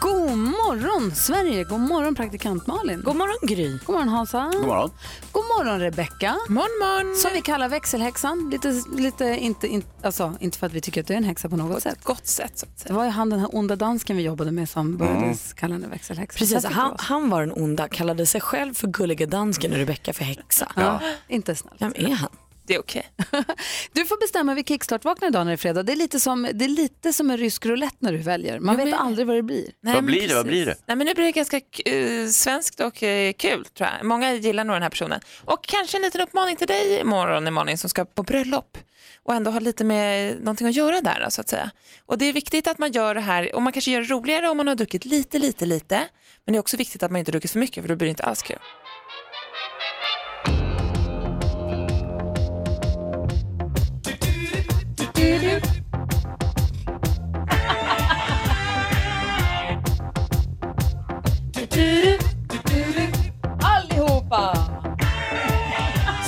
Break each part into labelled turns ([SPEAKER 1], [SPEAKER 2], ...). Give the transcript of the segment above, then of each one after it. [SPEAKER 1] God morgon Sverige! God morgon praktikant Malin. God morgon Gry. God morgon Hansa. God morgon. God morgon Rebecka. Morgon, morgon. Som vi kallar växelhäxan. Lite, lite inte, in, alltså, inte för att vi tycker att du är en häxa på något sätt.
[SPEAKER 2] gott sätt. Så att
[SPEAKER 1] Det
[SPEAKER 2] säga.
[SPEAKER 1] var ju han den här onda dansken vi jobbade med som började kalla henne växelhäxa.
[SPEAKER 2] Precis,
[SPEAKER 1] Så här
[SPEAKER 2] han,
[SPEAKER 1] tycker
[SPEAKER 2] han var den onda, kallade sig själv för gulliga dansken och Rebecca för häxa.
[SPEAKER 1] jag också. Ja, inte snällt.
[SPEAKER 2] Vem är han?
[SPEAKER 3] Det är okej.
[SPEAKER 1] Du får bestämma vid kickstart-vakna idag när det är fredag. Det är lite som, det är lite som en rysk roulette när du väljer. Man
[SPEAKER 3] Jo,
[SPEAKER 1] vet
[SPEAKER 3] men-
[SPEAKER 1] aldrig vad det blir.
[SPEAKER 4] Vad
[SPEAKER 3] Nej, men
[SPEAKER 4] blir det? Vad blir det?
[SPEAKER 3] Nej, men nu blir det ganska eh, svenskt och eh, kul tror jag. Många gillar nog den här personen. Och kanske en liten uppmaning till dig imorgon, Malin, som ska på bröllop och ändå har lite med någonting att göra där då, så att säga. Och det är viktigt att man gör det här, och man kanske gör det roligare om man har druckit lite, lite, lite. Men det är också viktigt att man inte druckit för mycket för då blir det inte alls kul.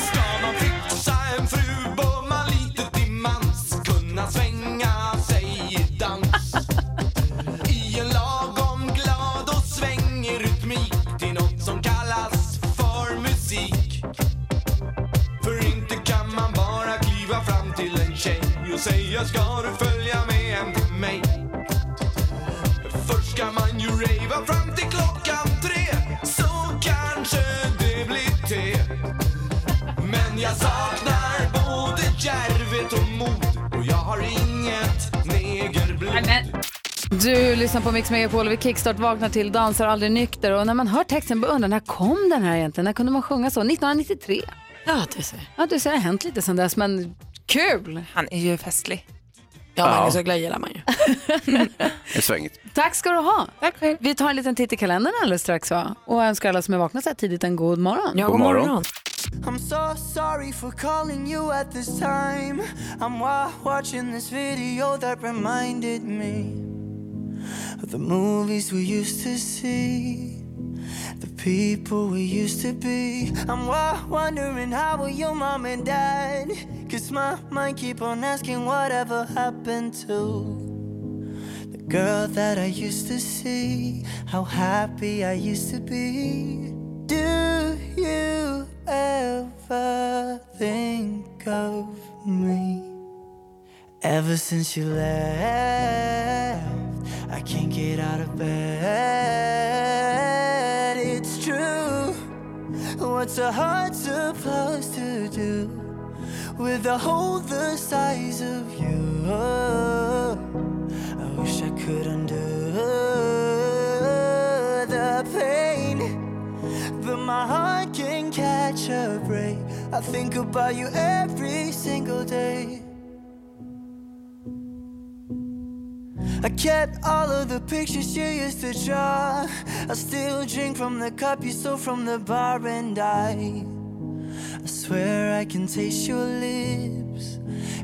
[SPEAKER 5] Ska man fixa en fru bör man lite till mans kunna svänga sig i dans I en lagom glad och svängig rytmik till något som kallas för musik För inte kan man bara kliva fram till en tjej och säga ska du följa med hem till mig Först ska man ju rejva fram till klockan tre så kanske det blir te men jag saknar både djärvhet och mod och jag har inget negerblod.
[SPEAKER 1] Du lyssnar på Mix Megapol och vi kickstart vaknar till Dansar aldrig nykter. Och när man hör texten börjar man undra, när kom den här egentligen? När kunde man sjunga så? 1993.
[SPEAKER 2] Ja, det ser jag.
[SPEAKER 1] Ja, du ser det har hänt lite sedan dess, men kul!
[SPEAKER 3] Han är ju festlig.
[SPEAKER 2] Ja, Magnus Uggla gillar man ju.
[SPEAKER 4] Det är svängigt.
[SPEAKER 1] Tack ska du ha!
[SPEAKER 3] Tack själv.
[SPEAKER 1] Vi tar en liten titt i kalendern alldeles strax va? och önskar alla som är vakna så här tidigt en god morgon.
[SPEAKER 2] Ja,
[SPEAKER 4] God
[SPEAKER 2] god
[SPEAKER 4] morgon.
[SPEAKER 2] morgon.
[SPEAKER 6] I'm so sorry for calling you at this time. I'm wa- watching this video that reminded me of the movies we used to see, the people we used to be. I'm wa- wondering how are your mom and dad? Cause my mind keep on asking whatever happened to the girl that I used to see, how happy I used to be. Do you ever think of me? Ever since you left, I can't get out of bed. It's true. What's a heart supposed to do with a hole the size of you? I wish I could undo the pain. But my heart can catch a break. I think about you every single day. I kept all of the pictures you used to draw. I still drink from the cup you stole from the bar, and I, I swear I can taste your lips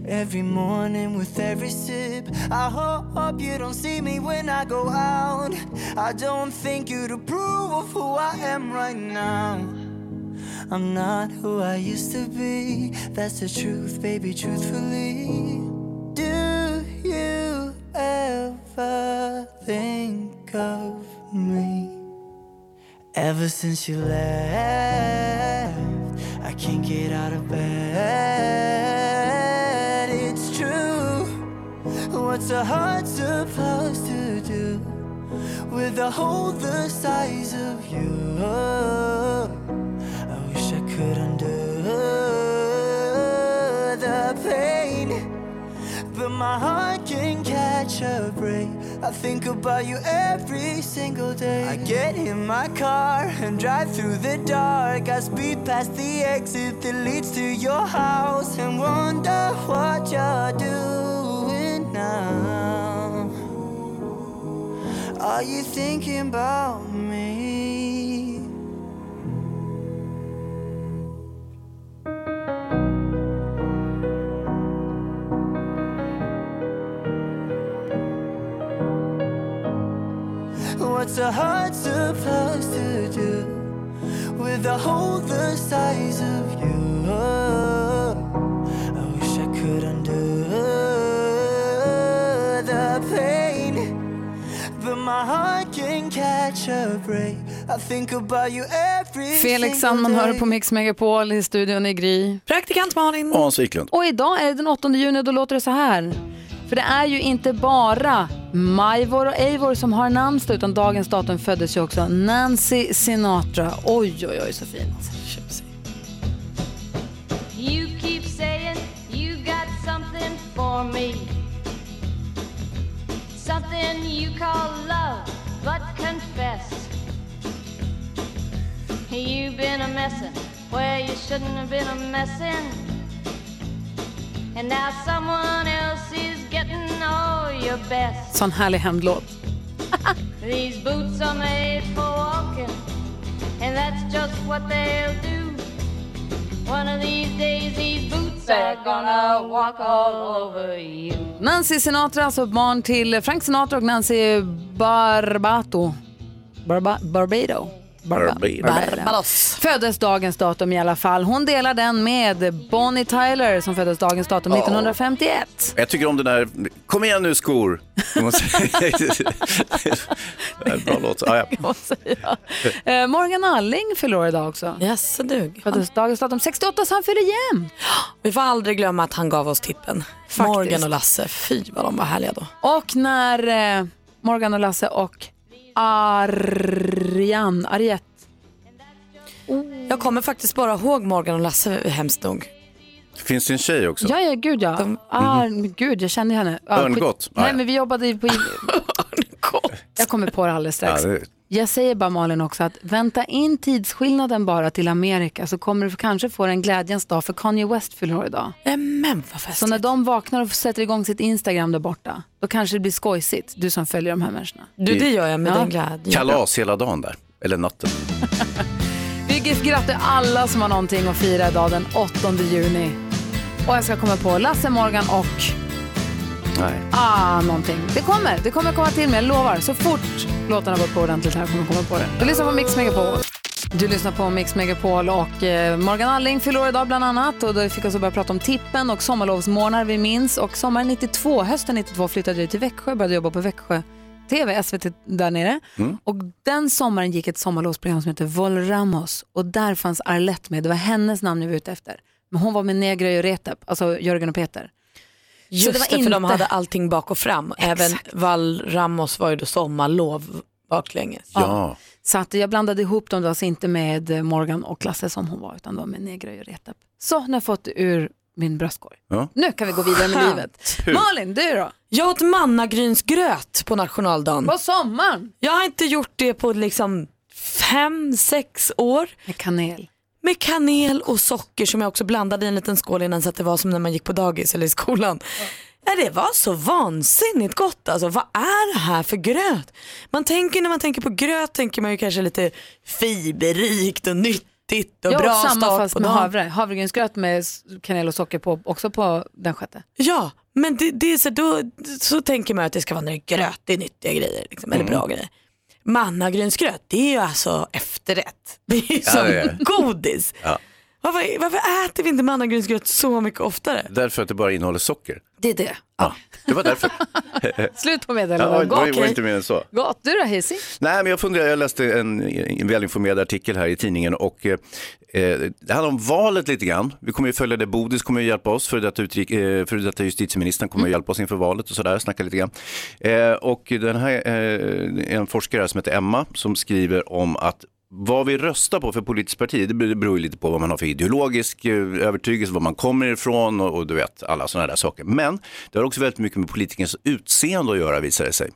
[SPEAKER 6] every morning with every sip. I hope you don't see me when I go out. I don't think you'd approve of who I am right now. I'm not who I used to be. That's the truth, baby, truthfully. Do you ever think of me? Ever since you left, I can't get out of bed. It's true. What's a heart supposed to do with a hole the size of you? I wish I could undo the pain. But my heart can catch a break. I think about you every single day. I get in my car and drive through the dark. I speed past the exit that leads to your house and wonder what you're doing now. Are you thinking about me? so hard to plus to do with a hole the size of you. I wish I could undo the pain, but my heart can catch a break. I think about you every
[SPEAKER 1] Felix
[SPEAKER 6] single
[SPEAKER 1] Sandman hör
[SPEAKER 6] day.
[SPEAKER 1] på Mix Megapol i studion i Gry.
[SPEAKER 2] Praktikant Malin.
[SPEAKER 7] Och Hans Wiklund.
[SPEAKER 1] Och idag är det den 8 juni och då låter det så här. För det är ju inte bara Majvor och Eivor som har namnsdag utan dagens datum föddes ju också Nancy Sinatra. Oj, oj, oj så fint.
[SPEAKER 8] You keep saying you got something for me. Something you call love, but confess. You've been a messin' where you shouldn't have been a messin'. And now someone else is getting all your best.
[SPEAKER 1] Sån härlig hämndlåt.
[SPEAKER 8] These boots are made for walking, and that's just what they'll do. One of these days, these boots are gonna walk all over you.
[SPEAKER 1] Nancy Sinatra, alltså barn till Frank Sinatra och Nancy Barbato. Barba, Barbado.
[SPEAKER 7] Barbie.
[SPEAKER 1] Barbados. Föddes dagens datum i alla fall. Hon delar den med Bonnie Tyler som föddes dagens datum
[SPEAKER 7] Ja.
[SPEAKER 1] 1951.
[SPEAKER 7] Jag tycker om den där, kom igen nu skor. Det är en bra låt. Ah, ja.
[SPEAKER 1] Eh, Morgan Alling fyller år idag också.
[SPEAKER 2] Yes, dug.
[SPEAKER 1] Föddes dagens datum 68 så han fyller jämnt.
[SPEAKER 2] Vi får aldrig glömma att han gav oss tippen. Morgan och Lasse, fy vad de var härliga då.
[SPEAKER 1] Och när eh, Morgan och Lasse och Arian, Ariette.
[SPEAKER 2] Jag kommer faktiskt bara ihåg Morgan och Lasse hemskt nog.
[SPEAKER 7] Finns det en tjej också?
[SPEAKER 1] Ja, ja, gud ja. Ah,
[SPEAKER 2] Mm.
[SPEAKER 1] Gud, jag kände henne. Ja,
[SPEAKER 7] Örngott.
[SPEAKER 1] skit-
[SPEAKER 7] Ah,
[SPEAKER 1] Nej,
[SPEAKER 7] ja.
[SPEAKER 1] men vi jobbade ju på... Jag kommer på det alldeles strax.
[SPEAKER 7] Ja, det är-
[SPEAKER 1] Jag säger bara Malin också att vänta in tidsskillnaden bara till Amerika så kommer du kanske få en glädjens dag för Kanye West fyller år idag.
[SPEAKER 2] Men vad festligt.
[SPEAKER 1] Så när de vaknar och sätter igång sitt Instagram där borta, då kanske det blir skojsigt, du som följer de här människorna.
[SPEAKER 2] Du, det gör jag med
[SPEAKER 1] Ja.
[SPEAKER 2] den glädjen.
[SPEAKER 7] Kalas hela dagen där, eller natten.
[SPEAKER 1] Vi grattar alla som har någonting att fira idag den 8 juni. Och jag ska komma på Lasse Morgan och
[SPEAKER 7] Nej.
[SPEAKER 1] ah, någonting. Det kommer, det kommer komma till mig, jag lovar. Så fort låtarna går på ordentligt här kommer jag komma på det. Du lyssnar på Mix Megapol. Du lyssnar på Mix Megapol och eh, Morgan Alling fyller år idag bland annat och då fick jag så börja prata om tippen och sommarlovsmorgnar vi minns och sommaren 92, hösten 92 flyttade jag till Växjö och började jobba på Växjö TV, SVT där nere.
[SPEAKER 9] Mm.
[SPEAKER 1] Och den sommaren gick ett sommarlovsprogram som heter Volramos och där fanns Arlette med. Det var hennes namn jag var ute efter. Men hon var med Negre och Retep, alltså Jörgen och Peter.
[SPEAKER 2] Just det, för de hade allting bak och fram. Även Val Ramos var ju då sommarlov baklänges.
[SPEAKER 7] Ja.
[SPEAKER 1] Så att jag blandade ihop dem, det var alltså inte med eh, Morgan och Lasse som hon var, utan det var med Negre och Retep. Så, nu har jag fått det ur min bröstkorg.
[SPEAKER 7] Ja.
[SPEAKER 1] Nu kan vi gå vidare med
[SPEAKER 2] Skönt.
[SPEAKER 1] livet. Malin, du då?
[SPEAKER 2] Jag åt mannagrynsgröt på nationaldagen.
[SPEAKER 1] På sommaren?
[SPEAKER 2] Jag har inte gjort det på liksom fem, sex år.
[SPEAKER 1] Med kanel?
[SPEAKER 2] Med kanel och socker som jag också blandade i en liten skål innan så att det var som när man gick på dagis eller i skolan. Ja. Det var så vansinnigt gott alltså. Vad är det här för gröt? Man tänker när man tänker på gröt tänker man ju kanske lite fiberrikt och nyttigt och
[SPEAKER 1] jag
[SPEAKER 2] bra
[SPEAKER 1] åt samma
[SPEAKER 2] start
[SPEAKER 1] fast
[SPEAKER 2] på
[SPEAKER 1] med
[SPEAKER 2] dagen.
[SPEAKER 1] havre. Havregrynsgröt med s- kanel och socker på, också på den sjätte.
[SPEAKER 2] Ja, men det, det är så, då, så tänker man att det ska vara när det är gröt, det är nyttiga grejer liksom,
[SPEAKER 7] Mm.
[SPEAKER 2] eller bra grejer. Mannagrynsgröt, det är ju alltså efterrätt. Det är ju
[SPEAKER 7] Ja,
[SPEAKER 2] som
[SPEAKER 7] det är.
[SPEAKER 2] godis.
[SPEAKER 7] Ja.
[SPEAKER 2] Varför, varför äter vi inte mannagrynsgröt så mycket oftare?
[SPEAKER 7] Därför att det bara innehåller socker.
[SPEAKER 2] Det är det.
[SPEAKER 7] Det var därför.
[SPEAKER 1] Slut på
[SPEAKER 7] ja,
[SPEAKER 1] meddelandet.
[SPEAKER 7] det var,
[SPEAKER 1] Gott.
[SPEAKER 7] det var inte mer än så.
[SPEAKER 1] Gott. Du då Hayes?
[SPEAKER 7] Nej, men jag funderar, jag läste en, en välinformerad artikel här i tidningen och eh, eh, det handlar om valet lite grann. Vi kommer ju följa det, Bodis kommer ju hjälpa oss, för detta, utrik, eh, för detta justitieministern kommer ju hjälpa oss inför valet och sådär, snacka lite grann. Eh, och den här, eh, en forskare här som heter Emma som skriver om att vad vi röstar på för politiskt parti, det beror ju lite på vad man har för ideologisk eh, övertygelse, var man kommer ifrån och, och du vet, alla sådana där saker. Men det har också väldigt mycket med politikernas utseende att göra visar det sig.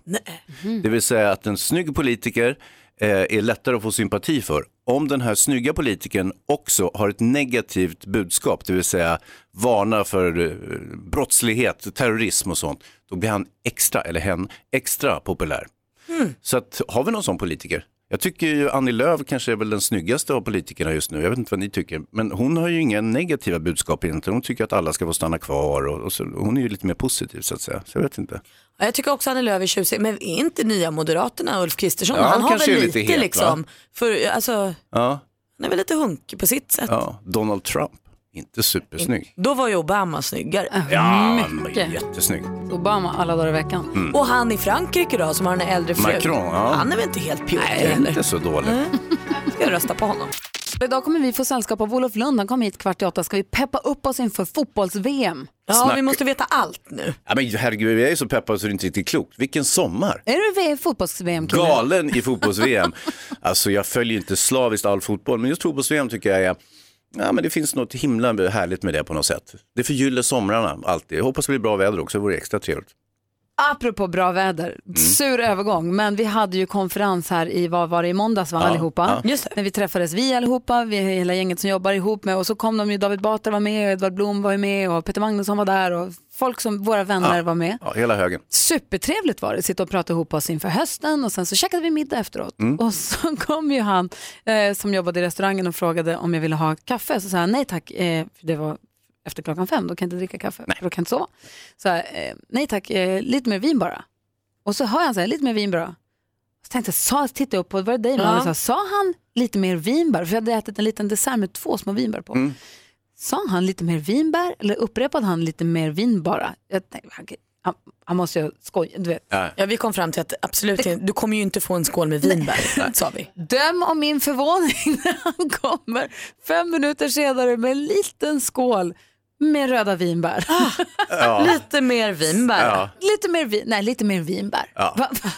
[SPEAKER 7] Det vill säga att en snygg politiker eh, är lättare att få sympati för om den här snygga politikern också har ett negativt budskap, det vill säga varnar för eh, brottslighet, terrorism och sånt,
[SPEAKER 1] Mm.
[SPEAKER 7] då blir han extra, eller hen, extra populär. Så att, har vi någon sån politiker? Jag tycker ju Annie Lööf kanske är väl den snyggaste av politikerna just nu. Jag vet inte vad ni tycker. Men hon har ju inga negativa budskap egentligen. Hon tycker att alla ska få stanna kvar och, och så, hon är ju lite mer positiv så att säga. Så jag vet inte.
[SPEAKER 2] Ja, Jag tycker också Annie Lööf är tjusig, men är inte nya Moderaterna Ulf Kristersson?
[SPEAKER 7] Ja,
[SPEAKER 2] han
[SPEAKER 7] han
[SPEAKER 2] har väl
[SPEAKER 7] kanske är
[SPEAKER 2] lite,
[SPEAKER 7] lite het,
[SPEAKER 2] liksom,
[SPEAKER 7] va?
[SPEAKER 2] för, alltså,
[SPEAKER 7] Ja,
[SPEAKER 2] han är väl lite hunkig på sitt sätt.
[SPEAKER 7] ja. Donald Trump, inte supersnygg.
[SPEAKER 2] Då var ju Obama snyggare.
[SPEAKER 7] Ja, han var
[SPEAKER 2] mycket.
[SPEAKER 7] jättesnygg.
[SPEAKER 1] Obama alla dagar i veckan.
[SPEAKER 7] Mm.
[SPEAKER 2] Och han i Frankrike då som har den här äldre frun.
[SPEAKER 7] Macron, ja.
[SPEAKER 2] Han är väl inte helt pjurk
[SPEAKER 7] Nej,
[SPEAKER 2] heller?
[SPEAKER 7] inte så dålig.
[SPEAKER 2] Nej. Ska jag rösta på honom?
[SPEAKER 1] Idag kommer vi få sällskap av Olof Lund. Han kommer hit kvart i åtta. Ska vi peppa upp oss inför fotbolls-VM?
[SPEAKER 7] Snack. vi måste
[SPEAKER 2] veta allt nu.
[SPEAKER 7] Ja, men herregud, vi är ju så peppade så det är inte riktigt klokt. Vilken sommar!
[SPEAKER 1] Är du v- fotbolls-VM kille?
[SPEAKER 7] Galen i fotbolls-VM. Alltså jag följer ju inte slaviskt all fotboll, men just fotbolls-VM tycker jag är Ja, men det finns något himla härligt med det på något sätt. Det förgyller somrarna alltid. Jag hoppas det blir bra väder också, det vore extra trevligt.
[SPEAKER 1] Apropå bra väder,
[SPEAKER 2] Mm.
[SPEAKER 1] sur övergång, men vi hade ju konferens här i, vad var det, i måndags va,
[SPEAKER 2] Ja,
[SPEAKER 1] allihopa?
[SPEAKER 2] ja. Just det.
[SPEAKER 1] När vi träffades, vi allihopa, vi hela gänget som jobbar ihop med och så kom de ju, David Batra var med, och Edvard Blom var ju med och Peter Magnusson var där och folk som, våra vänner var med.
[SPEAKER 7] Ah. Ja, hela högen.
[SPEAKER 1] Supertrevligt var det, sitta och prata ihop oss inför hösten och sen så käkade vi middag efteråt.
[SPEAKER 7] Mm.
[SPEAKER 1] Och så kom ju han eh, som jobbade i restaurangen och frågade om jag ville ha kaffe. Så sa jag nej tack, eh, för det var efter klockan fem, då kan jag inte dricka kaffe, för då kan jag inte sova. Så jag, eh, nej tack, eh, lite mer vin bara. Och så hör han så här, lite mer vin bara. Så tänkte jag, sa, tittade jag upp på, var det dig?
[SPEAKER 2] Ja.
[SPEAKER 1] Ja. Sa, sa han lite mer vinbär? För jag hade ätit en liten dessert med två små vinbär på. Sa han lite mer vinbär eller upprepade han lite mer vin bara? Jag tänkte, han, han, han måste ju skoja, du vet.
[SPEAKER 2] Ja, vi kom fram till att absolut inte- du kommer ju inte få en skål med vinbär, sa vi.
[SPEAKER 1] Döm om min förvåning när han kommer fem minuter senare med en liten skål med röda vinbär.
[SPEAKER 2] Ah. Ja. Lite mer vinbär. Ja.
[SPEAKER 1] Lite mer vin, nej lite mer vinbär.
[SPEAKER 2] Ja.
[SPEAKER 1] Va-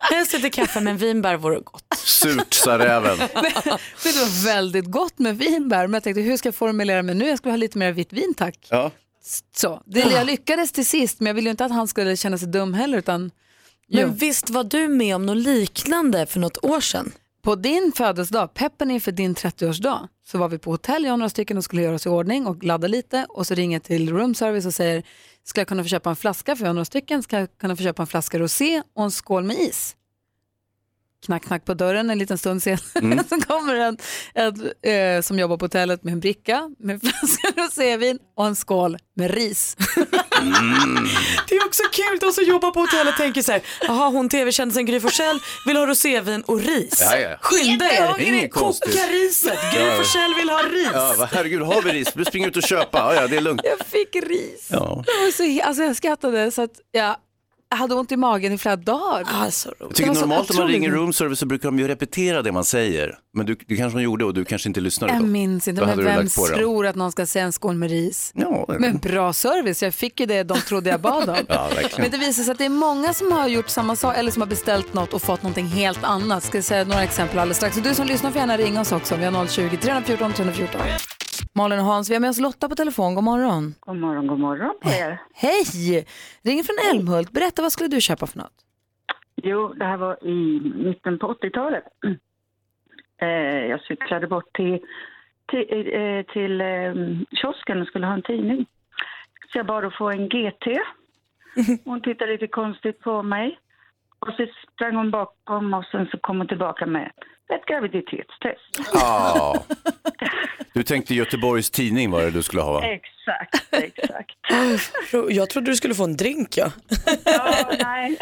[SPEAKER 2] Helst inte kaffe men vinbär vore gott.
[SPEAKER 7] Surt, sa räven.
[SPEAKER 1] Men det var väldigt gott med vinbär, men jag tänkte hur ska jag formulera mig nu? Jag skulle ha lite mer vitt vin tack.
[SPEAKER 7] Ja.
[SPEAKER 1] Så, det, jag lyckades till sist, men jag ville ju inte att han skulle känna sig dum heller. Utan,
[SPEAKER 2] Men visst var du med om något liknande för något år sedan?
[SPEAKER 1] På din födelsedag, peppen inför din 30-årsdag, så var vi på hotell, jag och några stycken, och skulle göra oss i ordning och ladda lite. Och så ringer jag till roomservice och säger, ska jag kunna få köpa en flaska, för jag och några stycken, ska jag kunna få köpa en flaska rosé och en skål med is? Knack, knack på dörren en liten stund senare.
[SPEAKER 2] Mm.
[SPEAKER 1] så kommer en, en eh, som jobbar på hotellet med en bricka med en flaska rosévin och en skål med ris.
[SPEAKER 2] Det är också kul, de som jobbar på hotellet tänker så här, jaha hon tv-kändisen Gry Forssell vill ha rosévin och ris.
[SPEAKER 7] Ja, ja.
[SPEAKER 2] Skynda
[SPEAKER 7] Det är
[SPEAKER 2] er,
[SPEAKER 7] inget
[SPEAKER 2] koka
[SPEAKER 7] konstigt.
[SPEAKER 2] riset, Gry
[SPEAKER 7] Ja.
[SPEAKER 2] Forssell vill ha ris.
[SPEAKER 7] Ja, vad- herregud, har vi ris? Vi springer ut och köper. Ja, ja, det är lugnt.
[SPEAKER 1] Jag fick ris.
[SPEAKER 7] Ja.
[SPEAKER 1] Det var så, he- alltså jag skrattade så att jag hade ont i magen i flera dagar.
[SPEAKER 7] Jag tycker
[SPEAKER 1] Det var Ah, så
[SPEAKER 7] normalt om man
[SPEAKER 1] Alltså, otroligt-
[SPEAKER 7] ringer room service så brukar de ju repetera det man säger. Men du, det kanske de gjorde och du kanske inte lyssnade
[SPEAKER 1] Jag
[SPEAKER 7] då.
[SPEAKER 1] minns inte,
[SPEAKER 7] Då
[SPEAKER 1] men
[SPEAKER 7] hade du
[SPEAKER 1] vem
[SPEAKER 7] lagt på dem.
[SPEAKER 1] tror att någon ska säga en skål med ris?
[SPEAKER 7] Ja,
[SPEAKER 1] Men bra service, jag fick ju det de trodde jag bad om.
[SPEAKER 7] Ja, verkligen.
[SPEAKER 1] men det visar sig att det är många som har gjort samma sak eller som har beställt något och fått någonting helt annat. Ska jag säga några exempel alldeles strax. Och du som lyssnar får gärna ringa oss också. Vi har 020 314 314. Malin och Hans, vi har med oss Lotta på telefon. God morgon.
[SPEAKER 9] God morgon, god morgon på er.
[SPEAKER 1] Hej! Ringer från Älmhult. Berätta, vad skulle du köpa för något?
[SPEAKER 9] Jo, det här var i mitten på 80-talet. Eh, jag cyklade bort till, till, eh, till eh, kiosken och skulle ha en tidning. Så jag bad att få en GT. Hon tittade lite konstigt på mig. Och så sprang hon bakom och sen så kom hon tillbaka med ett graviditetstest.
[SPEAKER 7] Ja. Ah. Du tänkte Göteborgs tidning var det du skulle ha va?
[SPEAKER 9] Exakt, exakt.
[SPEAKER 2] Jag trodde du skulle få en drink ja.
[SPEAKER 9] Nej.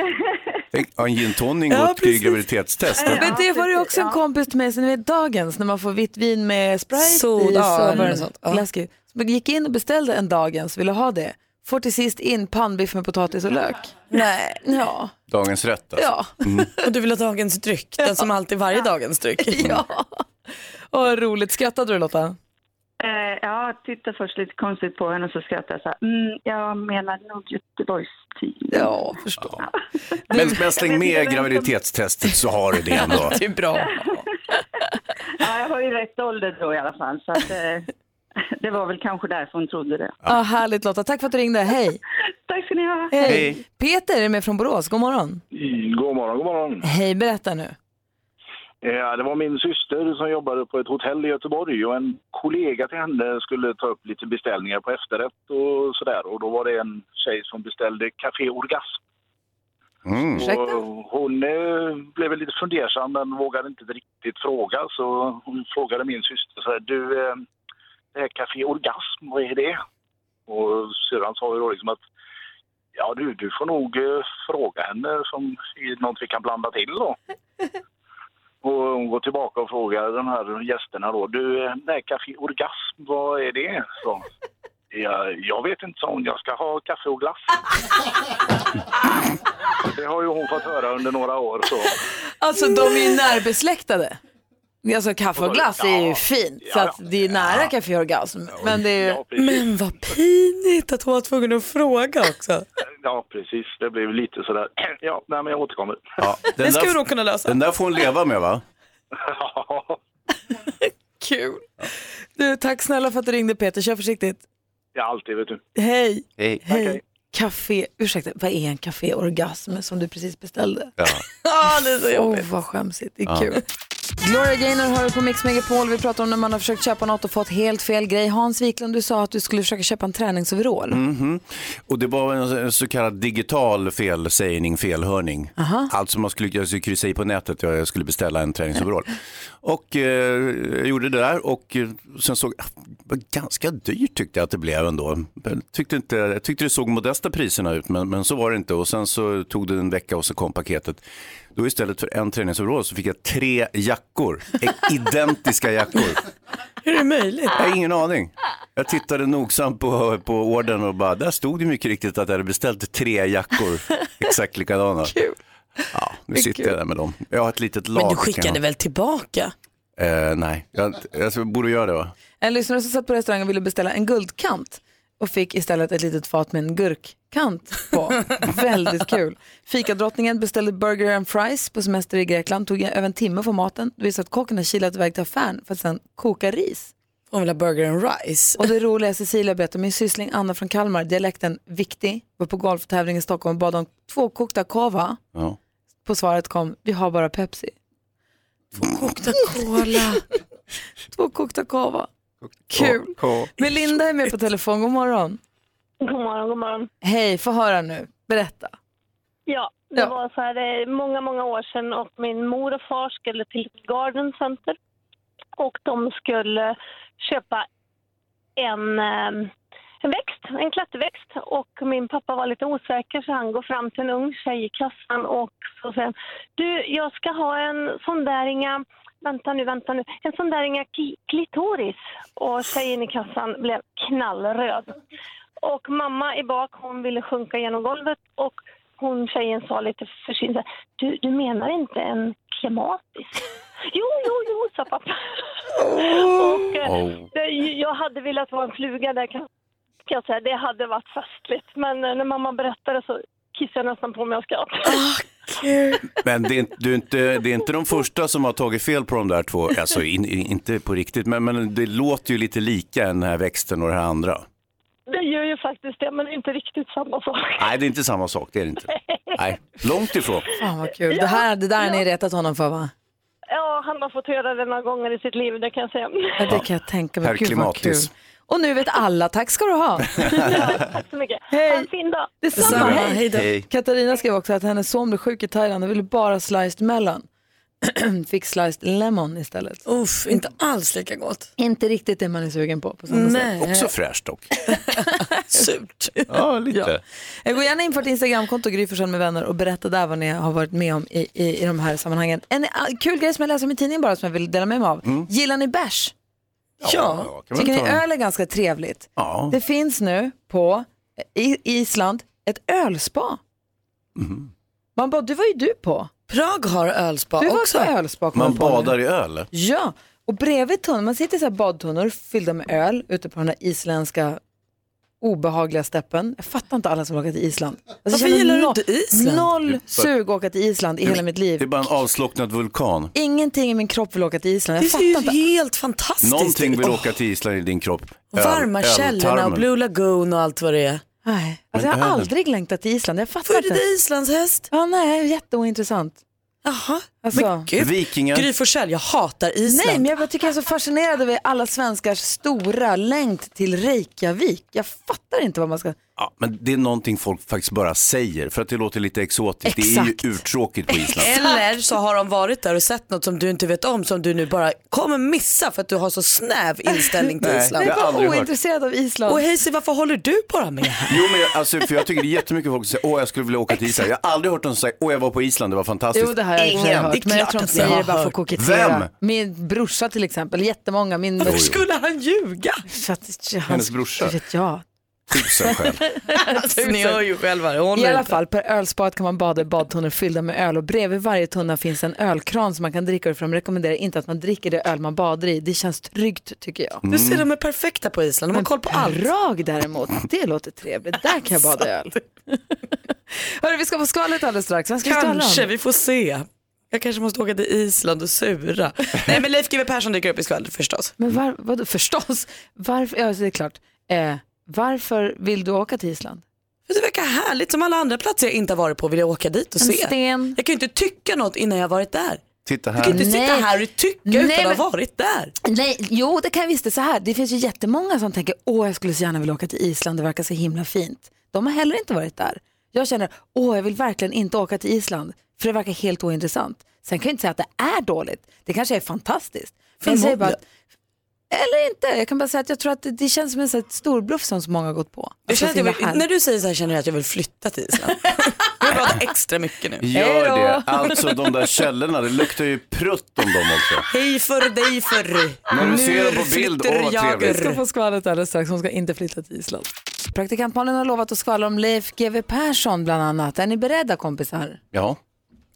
[SPEAKER 7] Ja, en gin tonic
[SPEAKER 1] Ja,
[SPEAKER 7] och ett graviditetstest.
[SPEAKER 1] Men det var ju också en kompis till mig som är dagens när man får vitt vin med Sprite
[SPEAKER 2] Soda
[SPEAKER 1] i. så
[SPEAKER 2] eller
[SPEAKER 1] var det
[SPEAKER 2] något sånt, ja.
[SPEAKER 1] Läskigt. Så man gick in och beställde en dagens, ville ha det. Får till sist in pannbiff med potatis och lök. Nej. Ja.
[SPEAKER 7] Dagens rätt alltså.
[SPEAKER 1] Ja.
[SPEAKER 7] Mm.
[SPEAKER 2] Och du vill ha dagens dryck, den som alltid varje dagens dryck.
[SPEAKER 1] Ja. Åh, vad roligt. Skrattade du Lotta?
[SPEAKER 9] Eh, ja, titta först lite konstigt på henne och så skrattade jag så här. Mm, jag menar nog Göteborgs tid.
[SPEAKER 1] Ja, förstår.
[SPEAKER 7] Men, men släng med graviditetstestet så har du det ändå.
[SPEAKER 9] Det är bra. Ja, jag var ju rätt ålder då i alla fall. Så att, eh, det var väl kanske därför hon trodde det.
[SPEAKER 1] Ja. härligt Lotta, tack för att du ringde. Hej.
[SPEAKER 9] Tack ska ni ha.
[SPEAKER 1] Hej.
[SPEAKER 10] Hej.
[SPEAKER 1] Peter är med från Borås, god morgon.
[SPEAKER 10] God morgon, god morgon.
[SPEAKER 1] Hej, berätta nu.
[SPEAKER 10] Eh, Det var min syster som jobbade på ett hotell i Göteborg och en kollega till henne skulle ta upp lite beställningar på efterrätt och sådär. Och då var det en tjej som beställde Café Orgasm.
[SPEAKER 7] Mm.
[SPEAKER 10] Och hon eh, blev väl lite fundersam men vågade inte riktigt fråga så hon frågade min syster så här, du eh, det här Café Orgasm, vad är det? Och syrran sa ju då liksom att ja du, du får nog eh, fråga henne som är något vi kan blanda till då. Och hon går tillbaka och frågar de här gästerna då, du eh, det här Café Orgasm, vad är det? Så, ja, jag vet inte, sa hon, jag ska ha kaffe och glass. Det har ju hon fått höra under några år. Så.
[SPEAKER 1] Alltså de är ju närbesläktade. Alltså kaffe och glass är ju fint, så att det är nära kaffe och orgasm. Men det är ju...
[SPEAKER 2] Men vad pinigt att hon var tvungen att fråga också.
[SPEAKER 10] Ja, precis. Det blev lite sådär, ja, nej men jag återkommer.
[SPEAKER 7] Ja,
[SPEAKER 2] Den ska
[SPEAKER 7] där-
[SPEAKER 2] vi nog kunna lösa.
[SPEAKER 7] Den där får hon leva med va?
[SPEAKER 2] Kul. Du, tack snälla för att du ringde Peter. Kör försiktigt.
[SPEAKER 10] Ja, alltid vet du.
[SPEAKER 2] Hej.
[SPEAKER 7] Hej.
[SPEAKER 2] Café, ursäkta, vad är en caféorgasm som du precis beställde?
[SPEAKER 7] Ja.
[SPEAKER 2] Ja, det är så
[SPEAKER 1] Åh,
[SPEAKER 2] jobbigt.
[SPEAKER 1] vad skämsigt.
[SPEAKER 2] Det är
[SPEAKER 1] Ja.
[SPEAKER 2] kul.
[SPEAKER 1] Gloria Gaynor hör du på Mix Megapol. Vi pratar om när man har försökt köpa något och fått helt fel grej. Hans Wiklund, du sa att du skulle försöka köpa en träningsoverall.
[SPEAKER 7] Mhm. Och det var en så kallad digital felsägning, felhörning.
[SPEAKER 1] Aha.
[SPEAKER 7] Alltså man skulle, jag skulle kryssa i på nätet, jag skulle beställa en träningsoverall. och eh, jag gjorde det där och eh, sen såg, ah, det var ganska dyrt tyckte jag att det blev ändå. Jag tyckte, inte, jag tyckte det såg modesta priserna ut men, men så var det inte och sen så tog det en vecka och så kom paketet. Då istället för en träningsoverall så fick jag tre jackor, identiska jackor.
[SPEAKER 2] Hur är det möjligt?
[SPEAKER 7] Jag har ingen aning. Jag tittade nogsamt på, på orden och bara, där stod det mycket riktigt att jag hade beställt tre jackor exakt likadana. Ja, nu sitter jag där med dem. Jag har ett litet lag.
[SPEAKER 2] Men du
[SPEAKER 7] kan
[SPEAKER 2] skickade
[SPEAKER 7] jag-
[SPEAKER 2] väl tillbaka?
[SPEAKER 7] Eh, nej, jag, jag borde göra det va?
[SPEAKER 1] En lyssnare som satt på restaurangen ville beställa en guldkant och fick istället ett litet fat med en gurkkant på. Väldigt kul. Fikadrottningen beställde burger and fries på semester i Grekland. Tog över en timme för maten. Det visade att kocken har kilat iväg till affären för att sen koka ris.
[SPEAKER 2] Hon vill ha burger and rice.
[SPEAKER 1] Och det roliga är Cecilia berättar, min syssling Anna från Kalmar, dialekten viktig, var på golftävling i Stockholm och bad om två kokta kava.
[SPEAKER 7] Ja.
[SPEAKER 1] På svaret kom, vi har bara Pepsi. Två kokta cola. två kokta kava. Kul.
[SPEAKER 7] K.
[SPEAKER 1] Men Linda är med på telefon, god morgon.
[SPEAKER 11] God morgon, god morgon.
[SPEAKER 1] Hej, få höra nu, berätta.
[SPEAKER 11] Ja, det var så här eh, många, många år sedan och min mor och far skulle till Garden Center och de skulle köpa en, eh, en växt, en klätterväxt och min pappa var lite osäker så han går fram till en ung tjej i kassan och så säger han, du jag ska ha en sån där inga, vänta nu, vänta nu, en sån där inga ki- klitoris och tjejen i kassan blev knallröd. Och mamma i bak, hon ville sjunka genom golvet och hon tjejen sa lite försynt så här, du, du menar inte en klimatisk? Jo, jo, jo, sa pappa. och, eh,
[SPEAKER 6] Oh.
[SPEAKER 11] det, jag hade velat vara en fluga där kan, kan jag säga. Det hade varit festligt. Men eh, när mamma berättade så kissade jag nästan på mig av skratt.
[SPEAKER 7] Men det är, inte- du är inte, det är inte de första som har tagit fel på de där två, alltså in, in, inte på riktigt, men, men det låter ju lite lika den här växten och det här andra.
[SPEAKER 11] Det gör ju faktiskt det, men inte riktigt samma sak.
[SPEAKER 7] Nej, det är inte samma sak, det är det inte. Nej, långt ifrån.
[SPEAKER 1] Fan vad kul. Det, här, det där har ni retat honom för va?
[SPEAKER 11] Ja, han har fått höra det några gånger i sitt liv, det kan jag säga.
[SPEAKER 1] Ja, det kan jag tänka mig.
[SPEAKER 7] Herr
[SPEAKER 1] Gud vad kul.
[SPEAKER 7] Klimatis.
[SPEAKER 1] Och nu vet alla, tack ska du ha.
[SPEAKER 11] Tack så mycket. Hej. Ha en fin dag.
[SPEAKER 1] Detsamma, hej.
[SPEAKER 7] Hej.
[SPEAKER 1] Katarina skrev också att hennes son blev sjuk i Thailand och ville bara sliced mellan. Fick sliced lemon istället.
[SPEAKER 2] Uff, inte alls lika gott.
[SPEAKER 1] Inte riktigt det man är sugen på. på samma sätt.
[SPEAKER 7] Också fräscht dock.
[SPEAKER 2] Surt.
[SPEAKER 7] Ja, lite.
[SPEAKER 1] Eh, Gå gärna in på vårt Instagramkonto, Gry Forssell med vänner och berätta där vad ni har varit med om i, i, i de här sammanhangen. En eh, kul grej som jag läser om i tidningen bara som jag vill dela med mig av. Gillar ni bärs?
[SPEAKER 2] Mm. Ja, ja, kan man
[SPEAKER 1] Tycker ni
[SPEAKER 2] ta en.
[SPEAKER 1] öl är ganska trevligt?
[SPEAKER 7] Ja.
[SPEAKER 1] Det finns nu på eh, i, Island ett ölspa.
[SPEAKER 2] Mhm.
[SPEAKER 1] Man bara, det var ju du på.
[SPEAKER 2] Prag har ölspa
[SPEAKER 1] du
[SPEAKER 2] också.
[SPEAKER 1] Du var på ölspa. kom
[SPEAKER 7] Man
[SPEAKER 1] jag på nu.
[SPEAKER 7] badar i öl.
[SPEAKER 1] Ja, och bredvid tunnan, man sitter i så här badtunnor fyllda med öl ute på den här isländska obehagliga steppen. Jag fattar inte alla som åker till Island. Alltså,
[SPEAKER 2] Varför
[SPEAKER 1] jag känner
[SPEAKER 2] gillar du
[SPEAKER 1] noll-
[SPEAKER 2] inte Island?
[SPEAKER 1] Noll sug att åka till Island i hela mitt liv.
[SPEAKER 7] Det är bara en avslocknad vulkan.
[SPEAKER 1] Ingenting i min kropp vill åka till Island. Jag
[SPEAKER 2] Det
[SPEAKER 1] fattar
[SPEAKER 2] är
[SPEAKER 1] inte.
[SPEAKER 2] ju helt fantastiskt.
[SPEAKER 7] Någonting vill
[SPEAKER 2] Åh,
[SPEAKER 7] åka till Island i din kropp. Öl-
[SPEAKER 2] Varma källorna och
[SPEAKER 7] öltarmen.
[SPEAKER 2] Blue Lagoon och allt vad det är.
[SPEAKER 1] Nej, Alltså, jag
[SPEAKER 7] Men
[SPEAKER 1] har
[SPEAKER 7] ölen.
[SPEAKER 1] aldrig längtat till Island. Jag fattar
[SPEAKER 2] Före
[SPEAKER 1] inte.
[SPEAKER 2] detta Islandshäst?
[SPEAKER 1] Ja, nej, jätteointressant.
[SPEAKER 2] Jaha.
[SPEAKER 1] Alltså.
[SPEAKER 7] Vikingar.
[SPEAKER 2] Gry Forssell, jag hatar Island.
[SPEAKER 1] Nej, men jag bara tycker jag är så fascinerad över alla svenskars stora längt till Reykjavik. Jag fattar inte vad man ska...
[SPEAKER 7] Ja, men det är någonting folk faktiskt bara säger för att det låter lite exotiskt. Det är ju urtråkigt på Island.
[SPEAKER 2] Eller så har de varit där och sett något som du inte vet om som du nu bara kommer missa för att du har så snäv inställning till
[SPEAKER 7] Nej,
[SPEAKER 2] Island.
[SPEAKER 7] det har jag aldrig hört.
[SPEAKER 1] ointresserad av Island.
[SPEAKER 2] Och Hayes, varför håller du bara med?
[SPEAKER 7] Jo, men jag, alltså, för jag tycker det är jättemycket folk som säger åh jag skulle vilja åka till Island. Jag har aldrig hört någon säga åh jag var på Island, det var fantastiskt.
[SPEAKER 1] Jo, det har jag i och för sig
[SPEAKER 7] Ingen.
[SPEAKER 1] hört. Men jag tror de säger det bara för att kokettera.
[SPEAKER 7] Vem?
[SPEAKER 1] Min brorsa till exempel, jättemånga. Min...
[SPEAKER 7] Varför skulle
[SPEAKER 2] han ljuga?
[SPEAKER 1] För att, ja,
[SPEAKER 7] Hennes brorsa.
[SPEAKER 1] Vet jag.
[SPEAKER 7] Tusen skäl.
[SPEAKER 2] Ni hör ju själva, det håller
[SPEAKER 1] I alla
[SPEAKER 2] inte.
[SPEAKER 1] fall, per ölsparet kan man bada i badtunnor fyllda med öl och bredvid varje tunna finns en ölkran som man kan dricka ur för de rekommenderar inte att man dricker det öl man badar i. Det känns tryggt tycker jag.
[SPEAKER 2] Du ser, de är perfekta på Island. De har koll på allt.
[SPEAKER 1] Prag däremot, det låter trevligt. Där kan jag bada i öl. Hörru, vi ska få skvallret alldeles strax. Vad ska vi skvallra om?
[SPEAKER 2] Kanske, vi får se. Jag kanske måste åka till Island och sura. Nej men Leif GW Persson dyker upp i skvallret förstås.
[SPEAKER 1] Men var, vadå, förstås, varför, ja, det är klart. Eh, varför vill du åka till Island?
[SPEAKER 2] För det verkar härligt. Som alla andra platser jag inte har varit på vill jag åka dit och
[SPEAKER 1] En
[SPEAKER 2] se.
[SPEAKER 1] sten.
[SPEAKER 2] Jag kan ju inte tycka något innan jag har varit där.
[SPEAKER 7] Titta
[SPEAKER 2] Du kan ju inte sitta
[SPEAKER 1] Nej.
[SPEAKER 2] här och tycka
[SPEAKER 1] Nej,
[SPEAKER 2] utan att
[SPEAKER 1] men-
[SPEAKER 2] ha varit där.
[SPEAKER 1] Nej, jo det kan jag visst. Det, är så här. det finns ju jättemånga som tänker, åh jag skulle så gärna vilja åka till Island, det verkar så himla fint. De har heller inte varit där. Jag känner, åh jag vill verkligen inte åka till Island, för det verkar helt ointressant. Sen kan jag inte säga att det är dåligt, det kanske är fantastiskt. Men jag säger bara, att, eller inte, jag kan bara säga att jag tror att det, det känns som en sån här storbluff som så många har gått på.
[SPEAKER 2] Jag
[SPEAKER 1] Alltså,
[SPEAKER 2] känner att jag
[SPEAKER 1] så himla
[SPEAKER 2] vill,
[SPEAKER 1] härligt.
[SPEAKER 2] när du säger så här känner jag att jag vill flytta till Island. Jag vill prata extra mycket nu.
[SPEAKER 7] Gör det. Alltså de där källorna, det luktar ju prutt om dem också.
[SPEAKER 2] Hej för dig förr.
[SPEAKER 7] När du ser dem på bild, åh vad
[SPEAKER 1] Vi ska få
[SPEAKER 7] trevligt.
[SPEAKER 1] skvallret alldeles strax. Hon ska inte flytta till Island. Praktikant Malin har lovat att skvallra om Leif GW Persson bland annat. Är ni beredda kompisar?
[SPEAKER 7] Ja,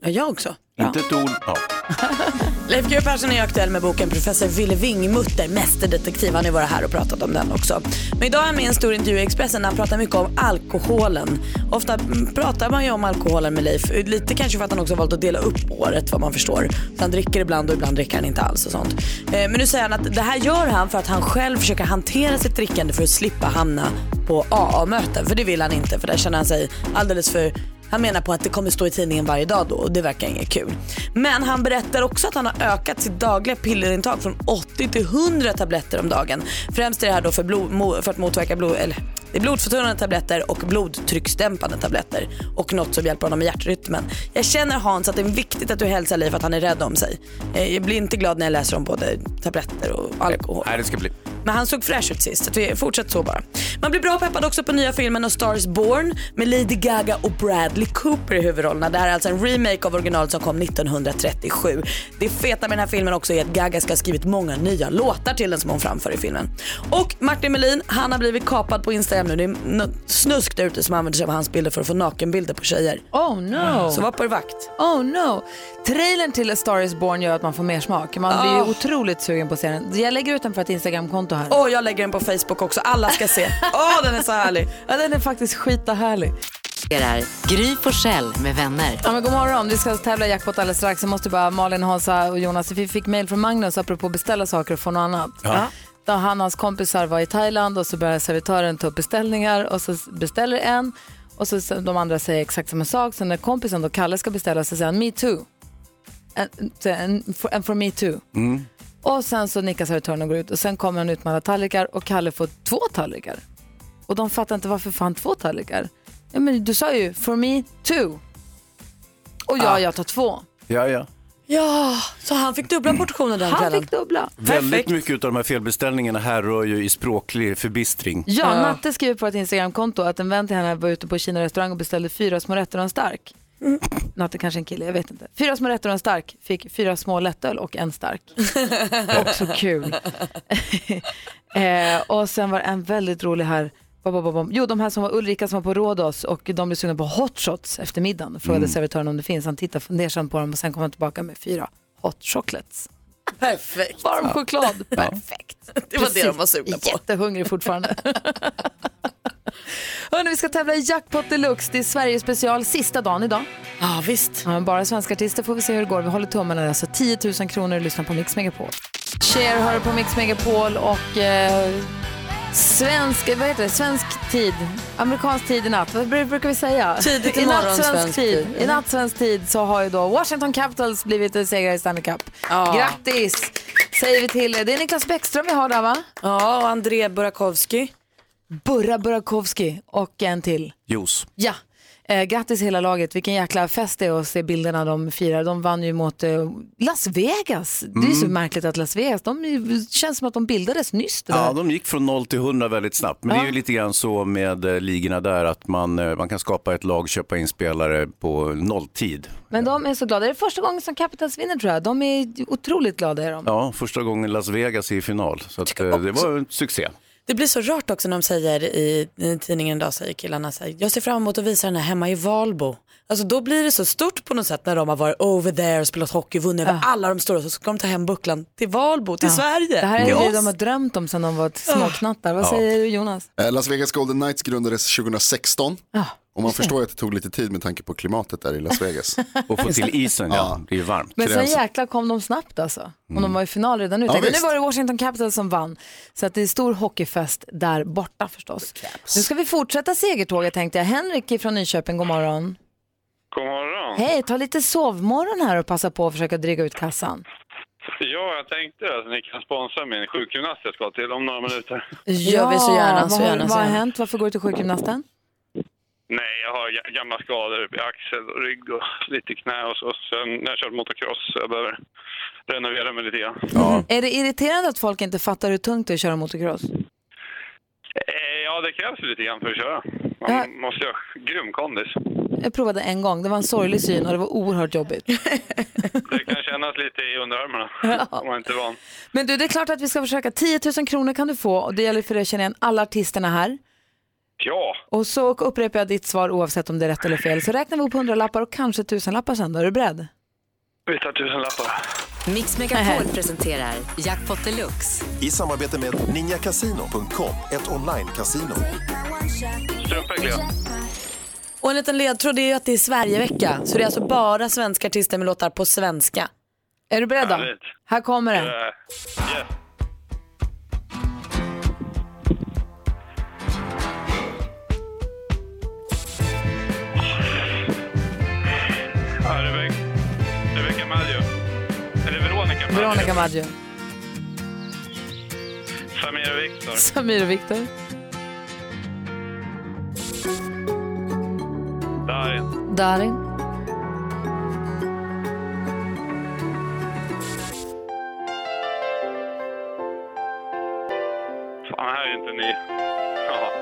[SPEAKER 2] Ja, jag också.
[SPEAKER 7] inte ett ord. Ja.
[SPEAKER 2] Leif GW Persson är ju aktuell med boken Professor Ville Vingmutter, mästerdetektiv. Han har ju varit här och pratat om den också. Men idag är han med i en stor intervju i Expressen där han pratar mycket om alkoholen. Ofta mm, pratar man ju om alkoholen med Leif, lite kanske för att han också valt att dela upp året vad man förstår. Så han dricker ibland och ibland dricker han inte alls och sånt. Eh, Men nu säger han att det här gör han för att han själv försöker hantera sitt drickande för att slippa hamna på AA-möten. För det vill han inte, för där känner han sig alldeles för han menar på att det kommer stå i tidningen varje dag då och det verkar inget kul. Men han berättar också att han har ökat sitt dagliga pillerintag från 80 till 100 tabletter om dagen. Främst är det här då för, blod, mo- för att motverka blod, eller, det är blodförtunnande tabletter och blodtrycksdämpande tabletter och något som hjälper honom med hjärtrytmen. Jag känner Hans att det är viktigt att du hälsar Leif att han är rädd om sig. Eh, Jag blir inte glad när jag läser om både tabletter och alkohol.
[SPEAKER 7] Nej, det ska bli.
[SPEAKER 2] Men han såg fräsch ut sist, så att vi fortsätter så bara. Man blir bra peppad också på nya filmen A Star is Born med Lady Gaga och Bradley Cooper i huvudrollerna. Det här är alltså en remake av originalet som kom 1937. Det feta med den här filmen också är att Gaga ska ha skrivit många nya låtar till den som hon framför i filmen. Och Martin Melin, han har blivit kapad på Instagram nu. Det är något snusk där ute som använder sig av hans bilder för att få nakenbilder på tjejer.
[SPEAKER 1] Oh no!
[SPEAKER 2] Så var på er vakt.
[SPEAKER 1] Oh no! Trailern till A Star is Born gör att man får mer smak. Man blir
[SPEAKER 2] Ah.
[SPEAKER 1] ju otroligt sugen på serien. Jag lägger ut den på ett Instagramkonto här.
[SPEAKER 2] Åh, jag lägger den på Facebook också. Alla ska se. Åh, den är så härlig.
[SPEAKER 1] Ja, den är faktiskt skita härlig.
[SPEAKER 5] Det är Gry Forssell med vänner.
[SPEAKER 1] Ja, men god morgon, vi ska tävla i jackpot alldeles strax. Jag måste bara, Malin, Hansa och Jonas, vi fick mejl från Magnus apropå att beställa saker och få något annat.
[SPEAKER 5] Ja.
[SPEAKER 1] Då han och hans kompisar var i Thailand och så började servitören ta upp beställningar och så beställer en och så så de andra säger exakt samma sak. Så när kompisen då, Kalle, ska beställa så säger han me too. En, så en, for- en for me too.
[SPEAKER 12] Mm.
[SPEAKER 1] Och sen så nickar servitören och går ut och sen kommer han ut med alla tallrikar och Kalle får två tallrikar. Och de fattar inte varför fan två tallrikar. Ja, men du sa ju for me two. Och ja, jag tar två. Mm.
[SPEAKER 7] Ja, ja.
[SPEAKER 2] Ah. Ja, så han fick dubbla portioner den
[SPEAKER 1] Han
[SPEAKER 2] kvällen.
[SPEAKER 1] fick dubbla.
[SPEAKER 7] Väldigt mycket av de här felbeställningarna här rör ju i språklig förbistring.
[SPEAKER 1] Ja, Natte skriver på ett Instagramkonto att en vän till henne var ute på Kina restaurang och beställde fyra små rätter och en stark.
[SPEAKER 2] Mm.
[SPEAKER 1] Natte kanske en kille, jag vet inte. Fyra små rätter och en stark, fick fyra små lättöl och en stark. Också kul. eh, och sen var det en väldigt rolig här, bom, bom, bom, bom. jo de här som var Ulrika som var på Rhodos och de blev sugna på hot shots efter middagen. Frågade
[SPEAKER 2] Mm.
[SPEAKER 1] servitören om det finns, han tittar fundersamt på dem och sen kom han tillbaka med fyra hot chocolates.
[SPEAKER 2] Perfekt.
[SPEAKER 1] Varm choklad.
[SPEAKER 2] Perfekt. Det var det de var sugna på.
[SPEAKER 1] Jättehungrig fortfarande. Hörrni, vi ska tävla i Jackpot Deluxe. Det är Sveriges special sista dagen idag.
[SPEAKER 2] Ja, visst.
[SPEAKER 1] men bara svenska artister får vi se hur det går. Vi håller tummarna. Alltså 10 000 kronor och lyssnar på Mix Megapol. Cher hör på Mix Megapol och eh, Svensk, vad heter det? Svensk tid. Amerikansk tid i natt. Vad br- brukar vi säga?
[SPEAKER 13] Tidigt
[SPEAKER 1] I
[SPEAKER 13] imorgon,
[SPEAKER 1] natt svensk
[SPEAKER 13] svensk
[SPEAKER 1] tid.
[SPEAKER 13] tid.
[SPEAKER 1] I natt svensk tid så har ju då Washington Capitals blivit en segrare i Stanley Cup. Grattis säger vi till er. Det är Niklas Bäckström vi har där va?
[SPEAKER 2] Ja, och André Burakovsky.
[SPEAKER 1] Burra Burakovsky och en till.
[SPEAKER 7] Juice.
[SPEAKER 1] Ja, eh, grattis hela laget. Vilken jäkla fest det är att se bilderna de firar. De vann ju mot eh, Las Vegas. Det är ju så
[SPEAKER 7] Mm.
[SPEAKER 1] märkligt att Las Vegas, de är ju- känns som att de bildades nyss. Det
[SPEAKER 7] Ja,
[SPEAKER 1] där.
[SPEAKER 7] de gick från 0 till 100 väldigt snabbt. Men det är ju
[SPEAKER 1] Ja.
[SPEAKER 7] lite grann så med eh, ligorna där att man, eh, man kan skapa ett lag, köpa in spelare på nolltid.
[SPEAKER 1] Men de är så glada. Det är första gången som Capitals vinner tror jag. De är otroligt glada är de.
[SPEAKER 7] Ja, första gången Las Vegas är i final. Så att, eh, det var en succé.
[SPEAKER 2] Det blir så rart också när de säger i, i tidningen idag, säger killarna så här, jag ser fram emot att visa den här hemma i Valbo. Alltså då blir det så stort på något sätt när de har varit over there, spelat hockey, vunnit över alla de stora, så ska de ta hem bucklan till Valbo, till
[SPEAKER 1] Ja.
[SPEAKER 2] Sverige. Ah.
[SPEAKER 1] Det här är
[SPEAKER 2] till
[SPEAKER 1] det
[SPEAKER 2] oss.
[SPEAKER 1] de har drömt om sedan de var småknattar. Vad
[SPEAKER 14] Ja.
[SPEAKER 1] säger du Jonas?
[SPEAKER 14] Eh, Las Vegas Golden Knights grundades 2016.
[SPEAKER 1] Ja,
[SPEAKER 14] Och man förstår ju att det tog lite tid med tanke på klimatet där i Las Vegas.
[SPEAKER 7] Och få till isen, ja. Det är ju varmt.
[SPEAKER 1] Men sen jäkla kom de snabbt alltså. Och
[SPEAKER 2] Mm.
[SPEAKER 1] de var i final redan nu.
[SPEAKER 14] Ja,
[SPEAKER 1] Tänkte, nu
[SPEAKER 14] visst.
[SPEAKER 1] var det Washington Capitals som vann. Så att det är stor hockeyfest där borta förstås. Nu ska vi fortsätta segertåget tänkte jag. Henrik från Nyköping, god morgon.
[SPEAKER 15] God morgon.
[SPEAKER 1] Hej, ta lite sovmorgon här och passa på att försöka dryga ut kassan.
[SPEAKER 15] Ja, jag tänkte att ni kan sponsra min sjukgymnast jag ska till om några minuter.
[SPEAKER 2] Gör vi så gärna, så
[SPEAKER 1] vad, har-
[SPEAKER 2] gärna, så
[SPEAKER 1] Vad har
[SPEAKER 2] gärna.
[SPEAKER 1] hänt? Varför går du till sjukgymnasten?
[SPEAKER 15] Nej, jag har ga- gamla skador i axel och rygg och lite knä och så. Sen när jag kört motocross så jag behöver renovera mig lite grann.
[SPEAKER 2] Mm.
[SPEAKER 1] Är det irriterande att folk inte fattar hur tungt det är att köra motocross?
[SPEAKER 15] Eh, Ja, det krävs ju lite grann för att köra. Man
[SPEAKER 1] Ja.
[SPEAKER 15] måste ju ha grym kondis.
[SPEAKER 1] Jag provade en gång, det var en sorglig syn och det var oerhört jobbigt.
[SPEAKER 15] Det kan kännas lite i underarmarna om man inte är van.
[SPEAKER 1] Men du, det är klart att vi ska försöka. 10 000 kronor kan du få och det gäller för dig att känna igen alla artisterna här.
[SPEAKER 15] Ja,
[SPEAKER 1] Och så upprepar jag ditt svar oavsett om det är rätt eller fel. Så räknar vi upp hundralappar och kanske tusenlappar sen då. Är du beredd?
[SPEAKER 15] vi tar tusenlappar.
[SPEAKER 16] Mix Megapol presenterar Jackpot Deluxe.
[SPEAKER 17] I samarbete med ninjakasino.com, ett online-casino.
[SPEAKER 2] Och en liten ledtråd är ju att det är Sverigevecka, så det är alltså bara svenska artister med låtar på svenska.
[SPEAKER 1] Är du beredd då?
[SPEAKER 2] Härligt.
[SPEAKER 1] Här kommer den.
[SPEAKER 15] Eh, yes. Ja, Rebecca, Rebecca Maggio. Eller Veronica Maggio.
[SPEAKER 1] Veronica Maggio,
[SPEAKER 15] Samir och Viktor.
[SPEAKER 1] Samir och Viktor,
[SPEAKER 15] Darin.
[SPEAKER 1] Darin,
[SPEAKER 15] Fan, här är inte ni. Ja.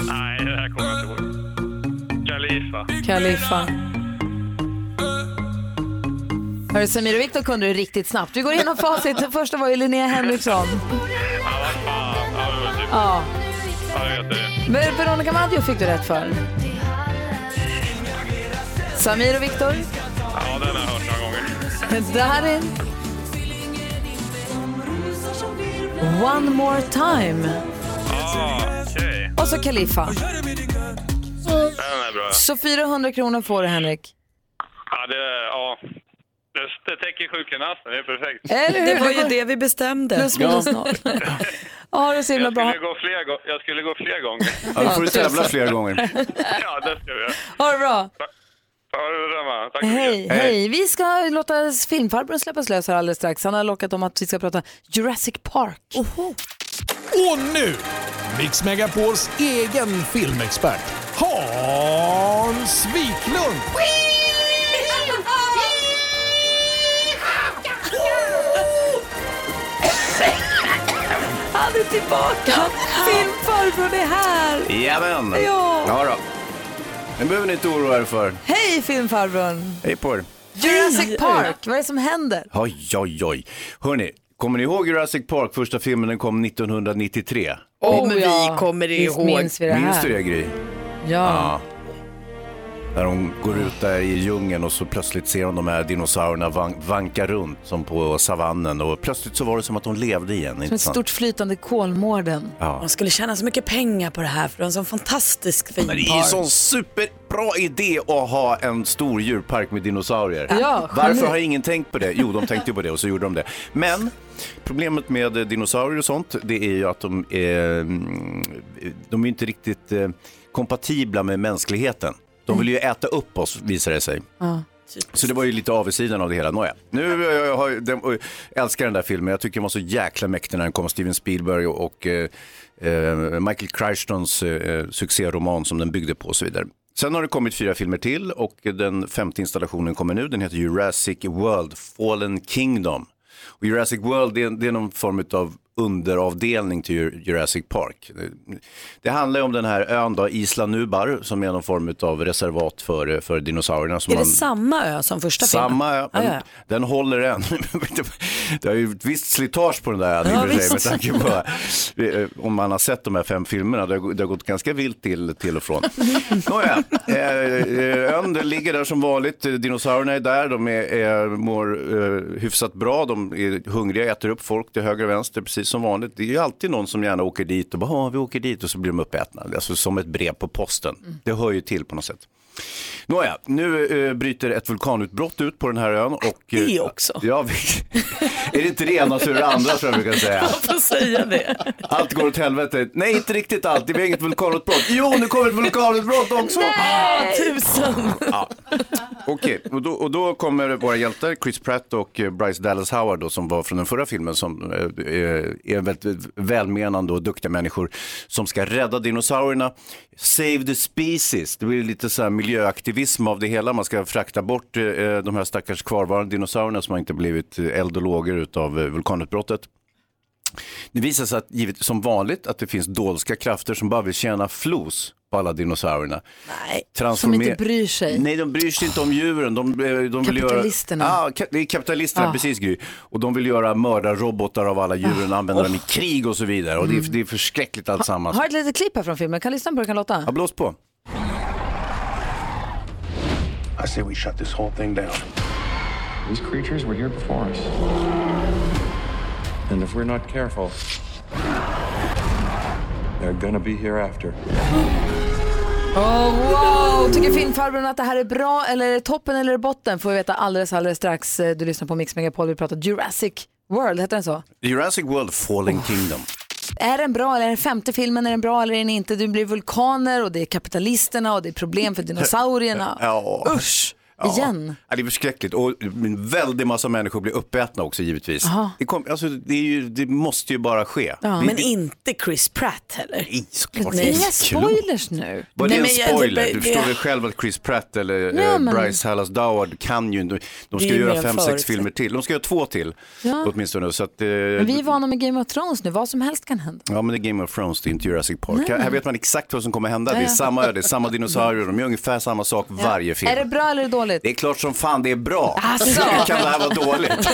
[SPEAKER 15] Nej, det här kommer jag inte ihåg. Khalifa.
[SPEAKER 1] Khalifa. Hörru, Samir och Viktor kunde du riktigt snabbt. Vi går igenom facit. Den första var ju Linnea Henriksson.
[SPEAKER 15] Ja, vad fan. Ja, det var typ...
[SPEAKER 1] Ja.
[SPEAKER 15] Ja, jag vet det.
[SPEAKER 1] Men Veronica Maggio fick du rätt för. Samir och Viktor,
[SPEAKER 15] Ja, den har jag hört några gånger.
[SPEAKER 1] Darin. One more time.
[SPEAKER 15] Ja, okej.
[SPEAKER 1] Och så Khalifa.
[SPEAKER 15] Den är bra.
[SPEAKER 1] Så 400 kronor får du Henrik.
[SPEAKER 15] Ja, det, ja. det, det täcker sjukgymnasten. Det är perfekt.
[SPEAKER 1] Eller hur?
[SPEAKER 2] Det var ju det vi bestämde.
[SPEAKER 1] Nu smäller det snart. Ja, ha det så himla
[SPEAKER 15] Jag
[SPEAKER 1] bra.
[SPEAKER 15] skulle, gå fler, gå- jag skulle gå fler gånger.
[SPEAKER 7] Ja, då får du tävla flera gånger.
[SPEAKER 15] Ja, det ska vi göra.
[SPEAKER 1] Ha det bra.
[SPEAKER 15] Ha det bra, man. Tack så
[SPEAKER 1] Hej,
[SPEAKER 15] mycket.
[SPEAKER 1] hej. Vi ska låta filmfarbrorn släppas lös här alldeles strax. Han har lockat om att vi ska prata Jurassic Park.
[SPEAKER 18] Och nu, Mix Megapols egen filmexpert, Hans Wiklund!
[SPEAKER 1] Han är tillbaka! Filmfarbrorn är här!
[SPEAKER 7] Jajamän!
[SPEAKER 1] Ja.
[SPEAKER 7] ja då. Den behöver ni inte oroa er för.
[SPEAKER 1] Hej filmfarbrorn!
[SPEAKER 7] Hej på er.
[SPEAKER 1] Jurassic Park, vad är det som
[SPEAKER 7] Alltså,
[SPEAKER 1] händer?
[SPEAKER 7] Oj, oj, oj. Hörni, kommer ni ihåg Jurassic Park? Första filmen den kom 1993.
[SPEAKER 2] Oh, men vi kommer
[SPEAKER 1] Visst
[SPEAKER 2] ihåg.
[SPEAKER 1] minns vi det här.
[SPEAKER 7] Minns du det Gry?
[SPEAKER 1] Ja.
[SPEAKER 7] När de går ut där i djungeln och så plötsligt ser de de här dinosaurierna van- vanka runt som på savannen och plötsligt så var det som att de levde igen.
[SPEAKER 1] Som ett
[SPEAKER 7] sant?
[SPEAKER 1] stort flytande Kolmården.
[SPEAKER 7] Ja.
[SPEAKER 2] De skulle tjäna så mycket pengar på det här för det var en sån fantastisk fin
[SPEAKER 7] Men det är ju sån super bra idé att ha en stor djurpark med dinosaurier.
[SPEAKER 1] Ja,
[SPEAKER 7] Varför
[SPEAKER 1] geni.
[SPEAKER 7] har ingen tänkt på det? Jo, de tänkte ju på det och så gjorde de det. Men problemet med eh, dinosaurier och sånt, det är ju att de är, mm, de är inte riktigt eh, kompatibla med mänskligheten. De vill ju äta upp oss, visar det sig.
[SPEAKER 1] Ja.
[SPEAKER 2] Typ.
[SPEAKER 7] Så det var ju lite avigsidan av det hela. Nåja, nu eh, jag har, jag- den, och jag älskar den där filmen. Jag tycker den var så jäkla mäktig när den kom. Steven Spielberg och, och eh, eh, Michael Crichtons eh, succéroman som den byggde på och så vidare. Sen har det kommit fyra filmer till och den femte installationen kommer nu. Den heter Jurassic World Fallen Kingdom. Och Jurassic World det är, det är någon form av underavdelning till Jur- Jurassic Park. Det handlar ju om den här ön då, Isla Nubar, som är någon form av reservat för, för dinosaurierna. Som
[SPEAKER 2] Är det
[SPEAKER 7] man-
[SPEAKER 2] samma ö som första
[SPEAKER 7] samma
[SPEAKER 2] filmen?
[SPEAKER 7] ö, men
[SPEAKER 2] Ja, ja.
[SPEAKER 7] den håller än. det är ju ett visst slitage på den där ön i
[SPEAKER 2] Ja,
[SPEAKER 7] och för sig,
[SPEAKER 2] visst.
[SPEAKER 7] med tanke på eh, om man har sett de här fem filmerna. Det har, gå- det har gått ganska vilt till, till och från. Nåja, eh, eh, ön den ligger där som vanligt. Eh, Dinosaurierna är där, de är, är, mår eh, hyfsat bra, de är hungriga, äter upp folk till höger och vänster, precis som vanligt. Det är ju alltid någon som gärna åker dit och bara, "Ja, vi åker dit och så blir de uppätna. Alltså som ett brev på posten.
[SPEAKER 2] Mm.
[SPEAKER 7] Det hör ju till på något sätt. Nåja, nu eh, bryter ett vulkanutbrott ut på den här
[SPEAKER 1] Mm.
[SPEAKER 7] ön. Och,
[SPEAKER 2] det
[SPEAKER 7] eh,
[SPEAKER 2] också.
[SPEAKER 7] Ja, vi, är det inte det ena så är det andra tror jag brukar säga.
[SPEAKER 2] Man får säga det.
[SPEAKER 7] Allt går åt helvete. Nej, inte riktigt allt. Det blir inget vulkanutbrott. Jo, nu kommer ett vulkanutbrott också.
[SPEAKER 2] Nej!
[SPEAKER 1] Ah,
[SPEAKER 2] Tusen!
[SPEAKER 7] Ja. Okej, och, då, och då kommer våra hjältar Chris Pratt och eh, Bryce Dallas Howard då, som var från den förra filmen som eh, är väldigt välmenande och duktiga människor som ska rädda dinosaurierna. Save the species, det blir lite så här miljöaktivism av det hela. Man ska frakta bort eh, de här stackars kvarvarande dinosaurierna som har inte blivit eh, eld och lågor utav eh, vulkanutbrottet. Det visar sig att, givet, som vanligt att det finns dolska krafter som bara vill tjäna flos på alla dinosaurierna. Nej,
[SPEAKER 1] Som inte bryr sig.
[SPEAKER 7] Nej, de bryr sig inte om djuren. De, eh, de vill
[SPEAKER 1] Kapitalisterna. Ah.
[SPEAKER 7] Göra... Ja, ka- det är kapitalisterna,
[SPEAKER 1] Ja.
[SPEAKER 7] precis Gry. Och de vill göra mördarrobotar av alla djuren,
[SPEAKER 1] Ah.
[SPEAKER 7] använda dem i krig och så vidare. Och det, är, det är förskräckligt alltsammans.
[SPEAKER 1] Oh. Mm. Har ett litet klipp här från filmen. Kan lyssna på hur det kan låta?
[SPEAKER 7] alltså. Ja, blås på.
[SPEAKER 17] I say we shut this whole thing down. These creatures were here before us. And if we're not careful, they're gonna be here after.
[SPEAKER 1] Oh, wow! Tycker filmfarbrorn att det här är bra eller är det toppen eller är det botten? Får vi veta alldeles alldeles strax. Du lyssnar på Mix Megapol. Vi pratar Jurassic World, heter den så?
[SPEAKER 7] Jurassic World Fallen Kingdom.
[SPEAKER 1] Är den bra eller är den femte filmen, är den bra eller är den inte? Det blir vulkaner och det är kapitalisterna och det är problem för dinosaurierna.
[SPEAKER 7] Ja.
[SPEAKER 1] Ah. Usch! Igen.
[SPEAKER 7] Ja, det är förskräckligt. Och en väldig massa människor blir uppätna också givetvis.
[SPEAKER 1] Aha.
[SPEAKER 7] Det, kom, alltså, det, är ju, det måste ju bara ske.
[SPEAKER 2] Ja.
[SPEAKER 7] Det,
[SPEAKER 2] Men
[SPEAKER 7] det,
[SPEAKER 2] inte Chris Pratt heller.
[SPEAKER 7] Nej, såklart
[SPEAKER 2] Nej.
[SPEAKER 7] inte.
[SPEAKER 2] Inga spoilers
[SPEAKER 1] nu.
[SPEAKER 2] Nej,
[SPEAKER 7] Var det
[SPEAKER 2] men
[SPEAKER 7] en
[SPEAKER 1] alltså,
[SPEAKER 2] jag-
[SPEAKER 7] spoiler?
[SPEAKER 2] det-
[SPEAKER 7] Du förstår
[SPEAKER 2] det-
[SPEAKER 7] väl själv att Chris Pratt eller
[SPEAKER 1] Nej,
[SPEAKER 7] eh,
[SPEAKER 1] men-
[SPEAKER 7] Bryce Dallas Howard kan ju inte. De ska
[SPEAKER 1] Det är
[SPEAKER 7] göra
[SPEAKER 1] mer än
[SPEAKER 7] fem,
[SPEAKER 1] förut.
[SPEAKER 7] sex filmer till. De ska göra två till
[SPEAKER 1] Ja.
[SPEAKER 7] åtminstone. Så att, eh,
[SPEAKER 1] Men vi är vana med Game of Thrones nu, vad som helst kan hända.
[SPEAKER 7] Ja men det är Game of Thrones, det är inte Jurassic Park.
[SPEAKER 1] Nej.
[SPEAKER 7] Här, här vet man exakt vad som kommer hända.
[SPEAKER 1] Ja,
[SPEAKER 7] Det
[SPEAKER 1] ja.
[SPEAKER 7] är samma öde, samma dinosaurier, de gör ungefär samma sak varje film.
[SPEAKER 1] Är det bra eller är det dåligt?
[SPEAKER 7] Det är klart som fan det är bra.
[SPEAKER 1] Alltså.
[SPEAKER 7] Hur kan det här vara dåligt?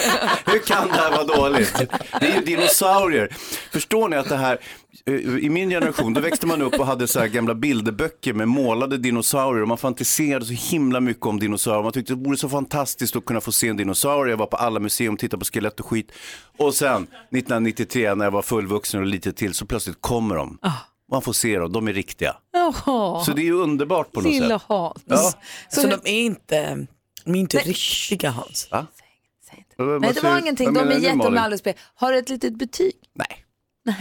[SPEAKER 7] Hur kan det här vara dåligt? Det är ju dinosaurier. Förstår ni att det här, eh, i min generation, då växte man upp och hade så här gamla bilderböcker med målade dinosaurier och man fantiserade så himla mycket om dinosaurier. Man tyckte det vore så fantastiskt att kunna få se en dinosaurie. Jag var på alla museum, tittade på skelett och skit. Och sen 1993 när jag var fullvuxen och lite till så plötsligt kommer de. Man får se dem, de är riktiga.
[SPEAKER 1] Åh,
[SPEAKER 7] Så det är ju underbart på något
[SPEAKER 1] lilla
[SPEAKER 7] sätt.
[SPEAKER 1] Hans.
[SPEAKER 7] Ja.
[SPEAKER 2] Så, de är inte, de är inte riktiga Hans.
[SPEAKER 7] Va?
[SPEAKER 1] Nej, det var ingenting. De är jätte med all respekt. Har du ett litet betyg?
[SPEAKER 7] Nej.
[SPEAKER 1] Nej,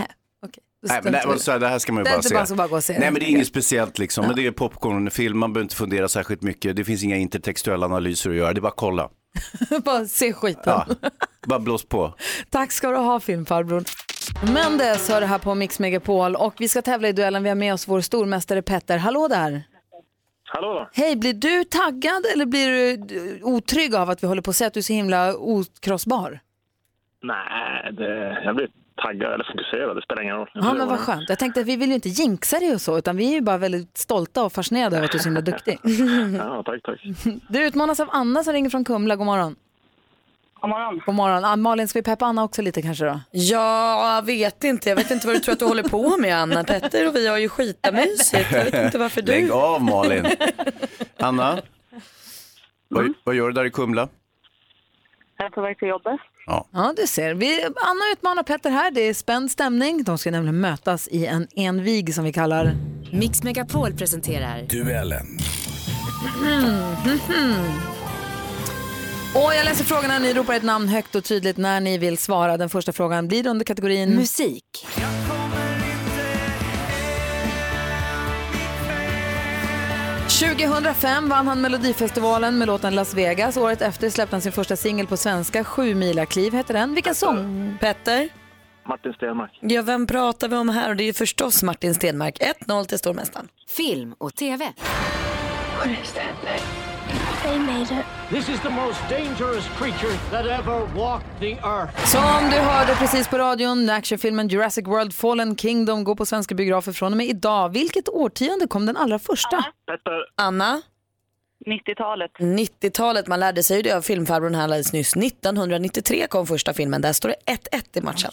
[SPEAKER 1] okej. Då
[SPEAKER 7] Nej, men det,
[SPEAKER 1] struntar vi i
[SPEAKER 7] här- så här, det här ska man ju
[SPEAKER 1] Det är
[SPEAKER 7] bara
[SPEAKER 1] inte
[SPEAKER 7] se.
[SPEAKER 1] bara så bara gå och se
[SPEAKER 7] Nej,
[SPEAKER 1] det.
[SPEAKER 7] men det är inget speciellt liksom. Men det är popcorn och film, man behöver inte fundera särskilt mycket. Det finns inga intertextuella analyser att göra, det är bara att kolla.
[SPEAKER 1] Bara se skiten.
[SPEAKER 7] Ja. bara blås på.
[SPEAKER 1] Tack ska du ha filmfarbrorn. Mendes hör det här på Mix Megapol och vi ska tävla i duellen. Vi har med oss vår stormästare Petter. Hallå där!
[SPEAKER 19] Hallå!
[SPEAKER 1] Hej, blir du taggad eller blir du eh, otrygg av att vi håller på att säga att du är så himla okrossbar?
[SPEAKER 19] Nej, det, jag blir taggad eller fokuserad. Det spelar ingen roll.
[SPEAKER 1] Ja, men vad skönt. Jag tänkte att vi vill ju inte jinxa dig och så, utan vi är ju bara väldigt stolta och fascinerade över att du är så himla duktig.
[SPEAKER 19] Ja, tack, tack.
[SPEAKER 1] Du utmanas av Anna som ringer från Kumla. God morgon.
[SPEAKER 2] God morgon.
[SPEAKER 1] God morgon. Ah, Malin, ska vi peppa Anna också lite kanske då?
[SPEAKER 2] Ja, jag vet inte. Jag vet inte vad du tror att du håller på med Anna. Petter och vi har ju skitamysigt. Jag vet inte varför du...
[SPEAKER 7] Lägg av Malin. Anna,
[SPEAKER 1] Mm.
[SPEAKER 7] vad, vad gör du där i Kumla?
[SPEAKER 1] Jag är på väg till jobbet.
[SPEAKER 7] Ja.
[SPEAKER 1] ja, du ser. Vi, Anna utmanar Petter här. Det är spänd stämning. De ska nämligen mötas i en envig som vi kallar...
[SPEAKER 20] Mix Megapol presenterar
[SPEAKER 21] Duellen.
[SPEAKER 1] Mm, Och mhm. jag läser frågorna, ni ropar ett namn högt och tydligt när ni vill svara. Den första frågan blir under kategorin musik. ...2005 vann han Melodifestivalen med låten Las Vegas. Året efter släppte han sin första singel på svenska, Sju mila kliv heter den. Vilken sång?
[SPEAKER 2] Petter?
[SPEAKER 19] Martin Stenmark.
[SPEAKER 2] Ja, vem pratar vi om här? Och det är ju förstås Martin Stenmark. 1-0 till stormästaren.
[SPEAKER 22] Film och TV.
[SPEAKER 5] What is that thing? They made it. This is the most dangerous creature that ever walked the earth.
[SPEAKER 1] Som du hörde precis på radion, actionfilmen Jurassic World Fallen Kingdom går på svenska biografer från och med idag. Vilket årtionde kom den allra första?
[SPEAKER 2] Anna?
[SPEAKER 3] 90-talet.
[SPEAKER 2] 90-talet, man lärde sig ju det av filmfarbrorn här alldeles nyss. 1993 kom första filmen, där står det 1-1 i matchen.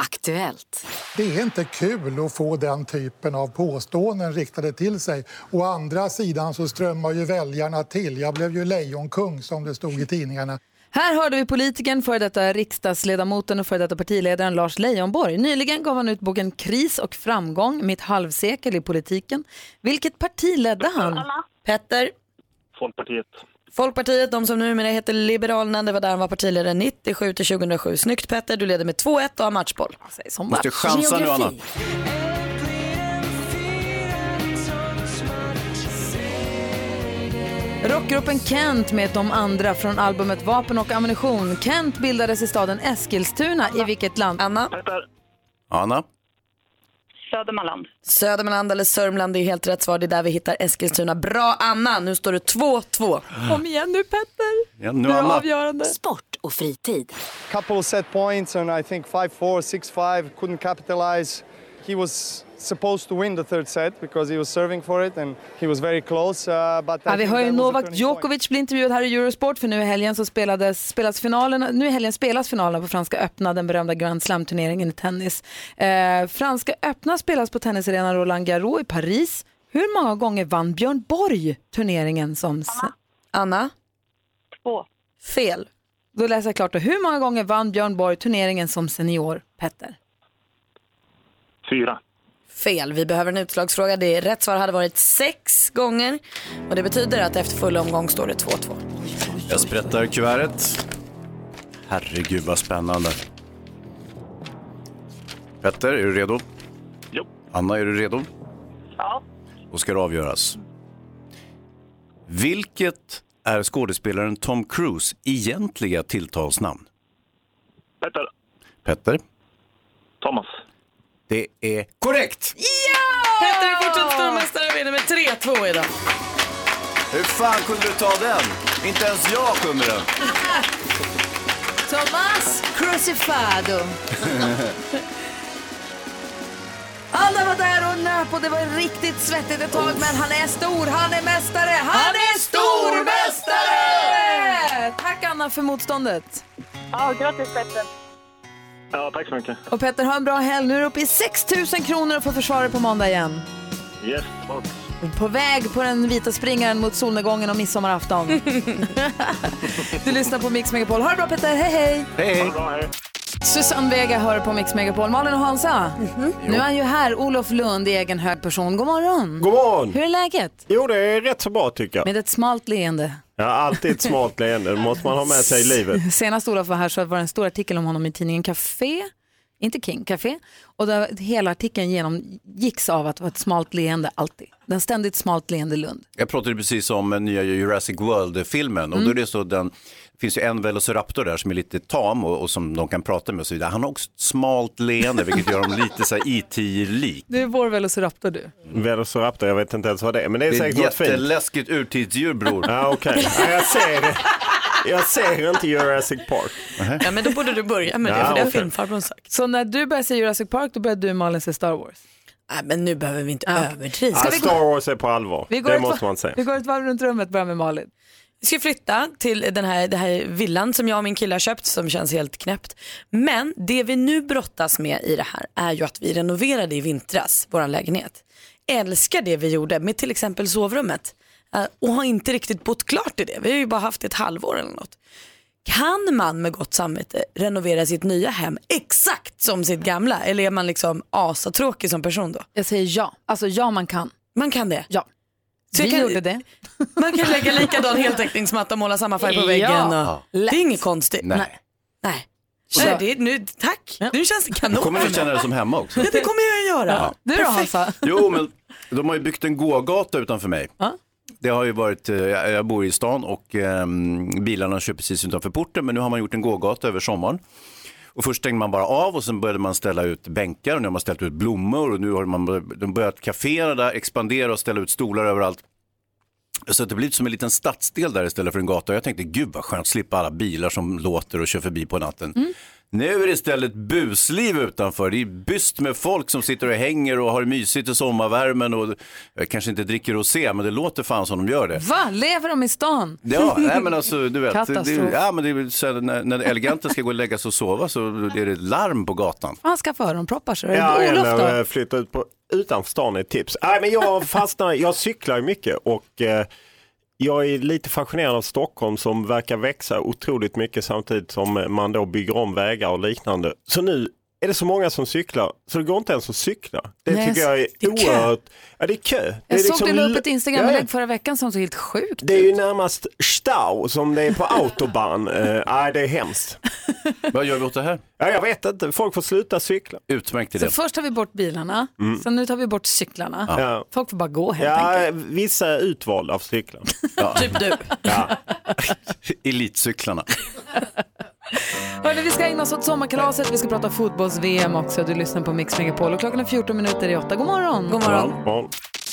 [SPEAKER 22] Aktuellt.
[SPEAKER 23] Det är inte kul att få den typen av påståenden riktade till sig. Å andra sidan så strömmar ju väljarna till. Jag blev ju lejonkung som det stod i tidningarna.
[SPEAKER 1] Här hörde vi politikern, före detta riksdagsledamoten och före detta partiledaren Lars Leijonborg. Nyligen gav han ut boken Kris och framgång, mitt halvsekel i politiken. Vilket parti ledde han?
[SPEAKER 2] Petter?
[SPEAKER 19] Folkpartiet.
[SPEAKER 2] Folkpartiet, de som numera heter Liberalerna, det var där han var partiledare 97 till 2007. Snyggt Petter, du leder med 2-1 och har matchboll.
[SPEAKER 7] Måste chansa nu, Anna.
[SPEAKER 1] Rockgruppen Kent med De andra från albumet Vapen och ammunition. Kent bildades i staden Eskilstuna i vilket land?
[SPEAKER 2] Anna?
[SPEAKER 7] Anna?
[SPEAKER 3] Södermanland.
[SPEAKER 2] Södermanland eller Sörmland, det är helt rätt svar. Det är där vi hittar Eskilstuna. Bra Anna, nu står det 2-2.
[SPEAKER 24] Kom igen nu Petter.
[SPEAKER 7] Ja,
[SPEAKER 24] nu är det avgörande.
[SPEAKER 22] Sport och fritid.
[SPEAKER 25] couple set points and I think 5-4, 6-5, couldn't capitalize. He was supposed to win the third set because he was serving for it and he was very close. Uh, but I
[SPEAKER 1] Ja, vi
[SPEAKER 25] think
[SPEAKER 1] hör ju
[SPEAKER 25] that was a
[SPEAKER 1] Novak
[SPEAKER 25] turning
[SPEAKER 1] Djokovic bli intervjuad här i Eurosport för nu i helgen så spelades, spelas finalen, nu i helgen spelas finalen på Franska öppna, den berömda Grand Slam-turneringen i tennis. Eh, Franska öppna spelas på tennisarenan Roland Garros i Paris. Hur många gånger vann Björn Borg turneringen som... s-
[SPEAKER 2] Anna?
[SPEAKER 3] Två.
[SPEAKER 2] Fel.
[SPEAKER 1] Då läser jag klart då. Hur många gånger vann Björn Borg turneringen som senior, Petter?
[SPEAKER 19] Fyra.
[SPEAKER 2] Fel, vi behöver en utslagsfråga. Det är rätt svar hade varit sex gånger och det betyder att efter full omgång står det 2-2.
[SPEAKER 7] Jag sprättar kuvertet. Herregud vad spännande. Petter, är du redo?
[SPEAKER 19] Jo.
[SPEAKER 7] Anna, är du redo?
[SPEAKER 3] Ja.
[SPEAKER 7] Då ska det avgöras. Vilket är skådespelaren Tom Cruise egentliga tilltalsnamn?
[SPEAKER 19] Petter.
[SPEAKER 7] Petter?
[SPEAKER 19] Thomas.
[SPEAKER 7] Det är korrekt!
[SPEAKER 2] Petter är fortsatt stormästare och vinner med 3-2 idag.
[SPEAKER 7] Hur fan kunde du ta den? Inte ens jag kunde den.
[SPEAKER 24] Thomas Crucifado.
[SPEAKER 1] Alla var där och nöp och det var riktigt svettigt ett tag men han är stor, han är mästare, han,
[SPEAKER 24] Han
[SPEAKER 1] är
[SPEAKER 24] är
[SPEAKER 1] stormästare! Tack Anna för motståndet.
[SPEAKER 3] Ja, grattis Petter.
[SPEAKER 19] Ja, tack så mycket.
[SPEAKER 1] Och Petter, ha en bra helg. Nu är du uppe i 6 000 kronor och får försvara dig på måndag igen.
[SPEAKER 19] Yes, box.
[SPEAKER 1] På väg på den vita springaren mot solnedgången och midsommarafton. du lyssnar på Mix Megapol. Ha det bra Petter, hej hej!
[SPEAKER 7] Hej!
[SPEAKER 1] Susanne Vega hör på Mix Megapol. Malin och Hansa,
[SPEAKER 2] Mhm.
[SPEAKER 1] nu är han ju här. Olof Lund i egen hög person. God morgon!
[SPEAKER 26] God morgon!
[SPEAKER 1] Hur är läget?
[SPEAKER 26] Jo, det är rätt så bra tycker jag.
[SPEAKER 1] Med ett smalt leende.
[SPEAKER 26] Jag har alltid ett smart leende, det måste man ha med sig i livet.
[SPEAKER 1] Senast Olof var här så var det en stor artikel om honom i tidningen Café, inte King, Café. Och där hela artikeln genomgicks av att det var ett smalt leende alltid. Den ständigt smalt leende Lund.
[SPEAKER 7] Jag pratade precis om eh, nya Jurassic World-filmen och då
[SPEAKER 2] Mm.
[SPEAKER 7] är det så den det finns ju en velociraptor där som är lite tam och, och som de kan prata med och så vidare. Han har också ett smalt leende vilket gör honom lite så här E IT-lik.
[SPEAKER 1] Du är vår velociraptor du.
[SPEAKER 26] Velociraptor, jag vet inte ens vad det är, men det
[SPEAKER 7] Det
[SPEAKER 26] är,
[SPEAKER 7] är ett
[SPEAKER 26] säkert något fint.
[SPEAKER 7] jätteläskigt urtidsdjur bror.
[SPEAKER 26] Ja, okej. Ja, jag ser det. Jag ser inte Jurassic Park.
[SPEAKER 2] Ja, men då borde du börja med det,
[SPEAKER 26] Ja,
[SPEAKER 2] för det har
[SPEAKER 26] okej.
[SPEAKER 2] filmfarbrorn sagt.
[SPEAKER 1] Så när du började se Jurassic Park då började du Malin se Star Wars.
[SPEAKER 2] Nej, men nu behöver vi inte överdriva.
[SPEAKER 1] Ska
[SPEAKER 26] Ja,
[SPEAKER 1] vi gå-
[SPEAKER 26] Star Wars är på allvar,
[SPEAKER 1] Vi går,
[SPEAKER 26] det
[SPEAKER 1] ett,
[SPEAKER 26] måste
[SPEAKER 1] va-
[SPEAKER 26] man säga.
[SPEAKER 1] vi går ett varv runt rummet, börjar med Malin.
[SPEAKER 2] Vi ska flytta till den här, den här villan som jag och min kille har köpt som känns helt knäppt. Men det vi nu brottas med i det här är ju att vi renoverade i vintras, vår lägenhet. Älskar det vi gjorde med till exempel sovrummet eh, och har inte riktigt bott klart i det. Vi har ju bara haft det ett halvår eller något. Kan man med gott samvete renovera sitt nya hem exakt som sitt gamla eller är man liksom asatråkig som person då?
[SPEAKER 1] Jag säger ja, alltså ja man kan.
[SPEAKER 2] Man kan det?
[SPEAKER 1] Ja.
[SPEAKER 2] jag
[SPEAKER 13] Vi
[SPEAKER 2] kan-
[SPEAKER 13] gjorde det.
[SPEAKER 2] Man kan lägga likadan heltäckningsmatta och måla samma färg på väggen. Och...
[SPEAKER 13] Ja.
[SPEAKER 2] Det är inget konstigt.
[SPEAKER 7] Nej.
[SPEAKER 2] Nej.
[SPEAKER 13] Så-
[SPEAKER 2] Nej, det är, nu, tack, nu känns det
[SPEAKER 7] Då
[SPEAKER 2] kanon.
[SPEAKER 7] kommer du känna dig som hemma också.
[SPEAKER 2] Ja, det kommer jag att göra.
[SPEAKER 7] Ja.
[SPEAKER 13] Du då Hansa?
[SPEAKER 7] Jo, men de har ju byggt en gågata utanför mig. Det har ju varit, eh, jag jag bor i stan och eh, bilarna kör precis utanför porten, men nu har man gjort en gågata över sommaren. Och först stängde man bara av och sen började man ställa ut bänkar och nu har man ställt ut blommor och nu har man bör- de börjat kaféerna där, expandera och ställa ut stolar överallt. Så att det blir som en liten stadsdel där istället för en gata. Och Jag tänkte, gud vad skönt, slippa alla bilar som låter och kör förbi på natten. Nu är det istället busliv utanför. Det är byst med folk som sitter och hänger och har det mysigt i sommarvärmen och eh, kanske inte dricker rosé, men det låter fan som de gör det.
[SPEAKER 1] Va? Lever de i stan?
[SPEAKER 7] Ja, nej, men alltså, du vet, det,
[SPEAKER 1] Katastrof.
[SPEAKER 7] ja, men det är väl så här, när, när eleganten ska gå och lägga sig och sova så är det larm på gatan.
[SPEAKER 1] Han skaffar öronproppar så är det
[SPEAKER 26] Ja,
[SPEAKER 1] Olof då?
[SPEAKER 26] eller eh, flytta ut på, utanför stan är ett tips. Nej, men jag fastnar, jag cyklar ju mycket och eh, jag är lite fascinerad av Stockholm som verkar växa otroligt mycket samtidigt som man då bygger om vägar och liknande. Så nu är det så många som cyklar så det går inte ens att cykla. Det
[SPEAKER 1] Nej,
[SPEAKER 26] tycker jag är,
[SPEAKER 1] det är kö.
[SPEAKER 26] oerhört... Ja, det är kö. det
[SPEAKER 1] Jag
[SPEAKER 26] är
[SPEAKER 1] såg
[SPEAKER 26] liksom
[SPEAKER 1] du la upp
[SPEAKER 26] l-
[SPEAKER 1] ett Instagram-inlägg
[SPEAKER 26] Ja,
[SPEAKER 1] förra veckan som såg helt sjukt
[SPEAKER 26] det är ju närmast stau som det är på autobahn. Eh, Nej, det är hemskt.
[SPEAKER 7] Vad gör vi åt det här?
[SPEAKER 26] Ja, jag vet inte, folk får sluta cykla.
[SPEAKER 7] Utmärkt
[SPEAKER 1] Så först tar vi bort bilarna,
[SPEAKER 26] Mm.
[SPEAKER 1] sen nu tar vi bort cyklarna.
[SPEAKER 26] Ja.
[SPEAKER 1] Folk får bara gå helt enkelt.
[SPEAKER 26] Ja, vissa är utvalda av cyklar.
[SPEAKER 1] Typ du.
[SPEAKER 26] Ja.
[SPEAKER 7] Elitcyklarna.
[SPEAKER 1] Hörrni, vi ska ägna oss åt sommarkalaset, vi ska prata fotbolls-VM också. Du lyssnar på Mix Megapol och klockan är 14 minuter i 8. God morgon!
[SPEAKER 13] God morgon.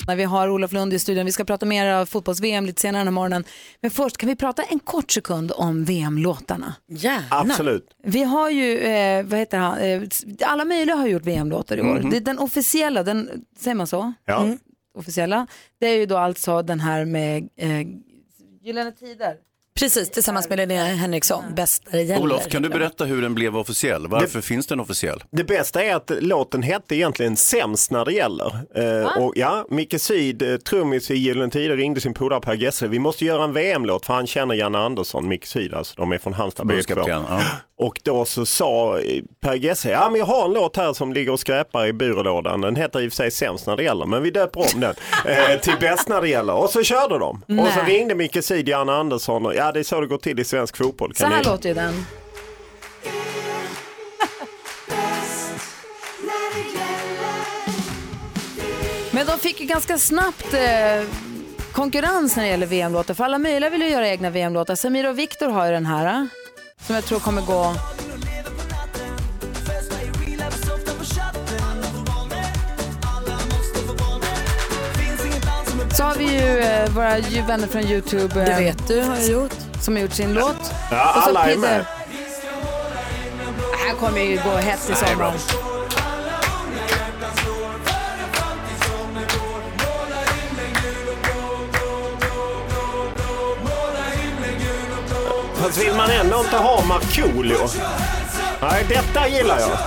[SPEAKER 1] När vi har Olof Lund i studion. Vi ska prata mer av fotbolls-VM lite senare den här morgonen. Men först kan vi prata en kort sekund om VM-låtarna.
[SPEAKER 2] Gärna.
[SPEAKER 26] Absolut.
[SPEAKER 1] Vi har ju, eh, vad heter han, eh, alla möjliga har gjort VM-låtar i år.
[SPEAKER 2] Mhm.
[SPEAKER 1] Det är den officiella, den, säger man så?
[SPEAKER 26] Ja.
[SPEAKER 1] Mm. Officiella. Det är ju då alltså den här med eh, Gyllene Tider.
[SPEAKER 2] Precis, tillsammans med Linnea Henriksson, Bästare gäller.
[SPEAKER 7] Olof, kan du berätta hur den blev officiell? Varför finns den officiell?
[SPEAKER 26] Det bästa är att låten hette egentligen Sämst när det gäller. Eh, och ja, Micke Syd, eh, trummis i Gyllene Tider, ringde sin polare Per Gessle. Vi måste göra en VM-låt för han känner Janne Andersson, Micke Syd alltså. De är från Halmstad båda två.
[SPEAKER 7] Förbundskapten, ja.
[SPEAKER 26] Och då så sa eh, Per Gessle, ja men jag har en låt här som ligger och skräpar i byrålådan. Den heter i och för sig Sämst när det gäller, men vi döper om den eh, till Bäst när det gäller. Och så körde de. Och så
[SPEAKER 1] Nej.
[SPEAKER 26] ringde Micke Syd Janne Andersson och ja det är så det går till i svensk fotboll.
[SPEAKER 1] Så här
[SPEAKER 26] ni-
[SPEAKER 1] låter ju den. Men de fick ju ganska snabbt eh, konkurrens när det gäller VM-låtar. För alla möjliga vill ju göra egna VM-låtar. Samir och Viktor har ju den här. eh, Som jag tror kommer gå... Så har vi ju eh, våra ju- vänner från Youtube. eh,
[SPEAKER 2] Det vet du har jag gjort.
[SPEAKER 1] Som har gjort sin låt.
[SPEAKER 26] Ja,
[SPEAKER 1] Och så
[SPEAKER 26] alla är
[SPEAKER 1] Pidde.
[SPEAKER 26] med.
[SPEAKER 1] Här kommer ju gå hett i sommar.
[SPEAKER 26] Fast vill man ändå inte ha Markoolio? Nej, detta gillar jag.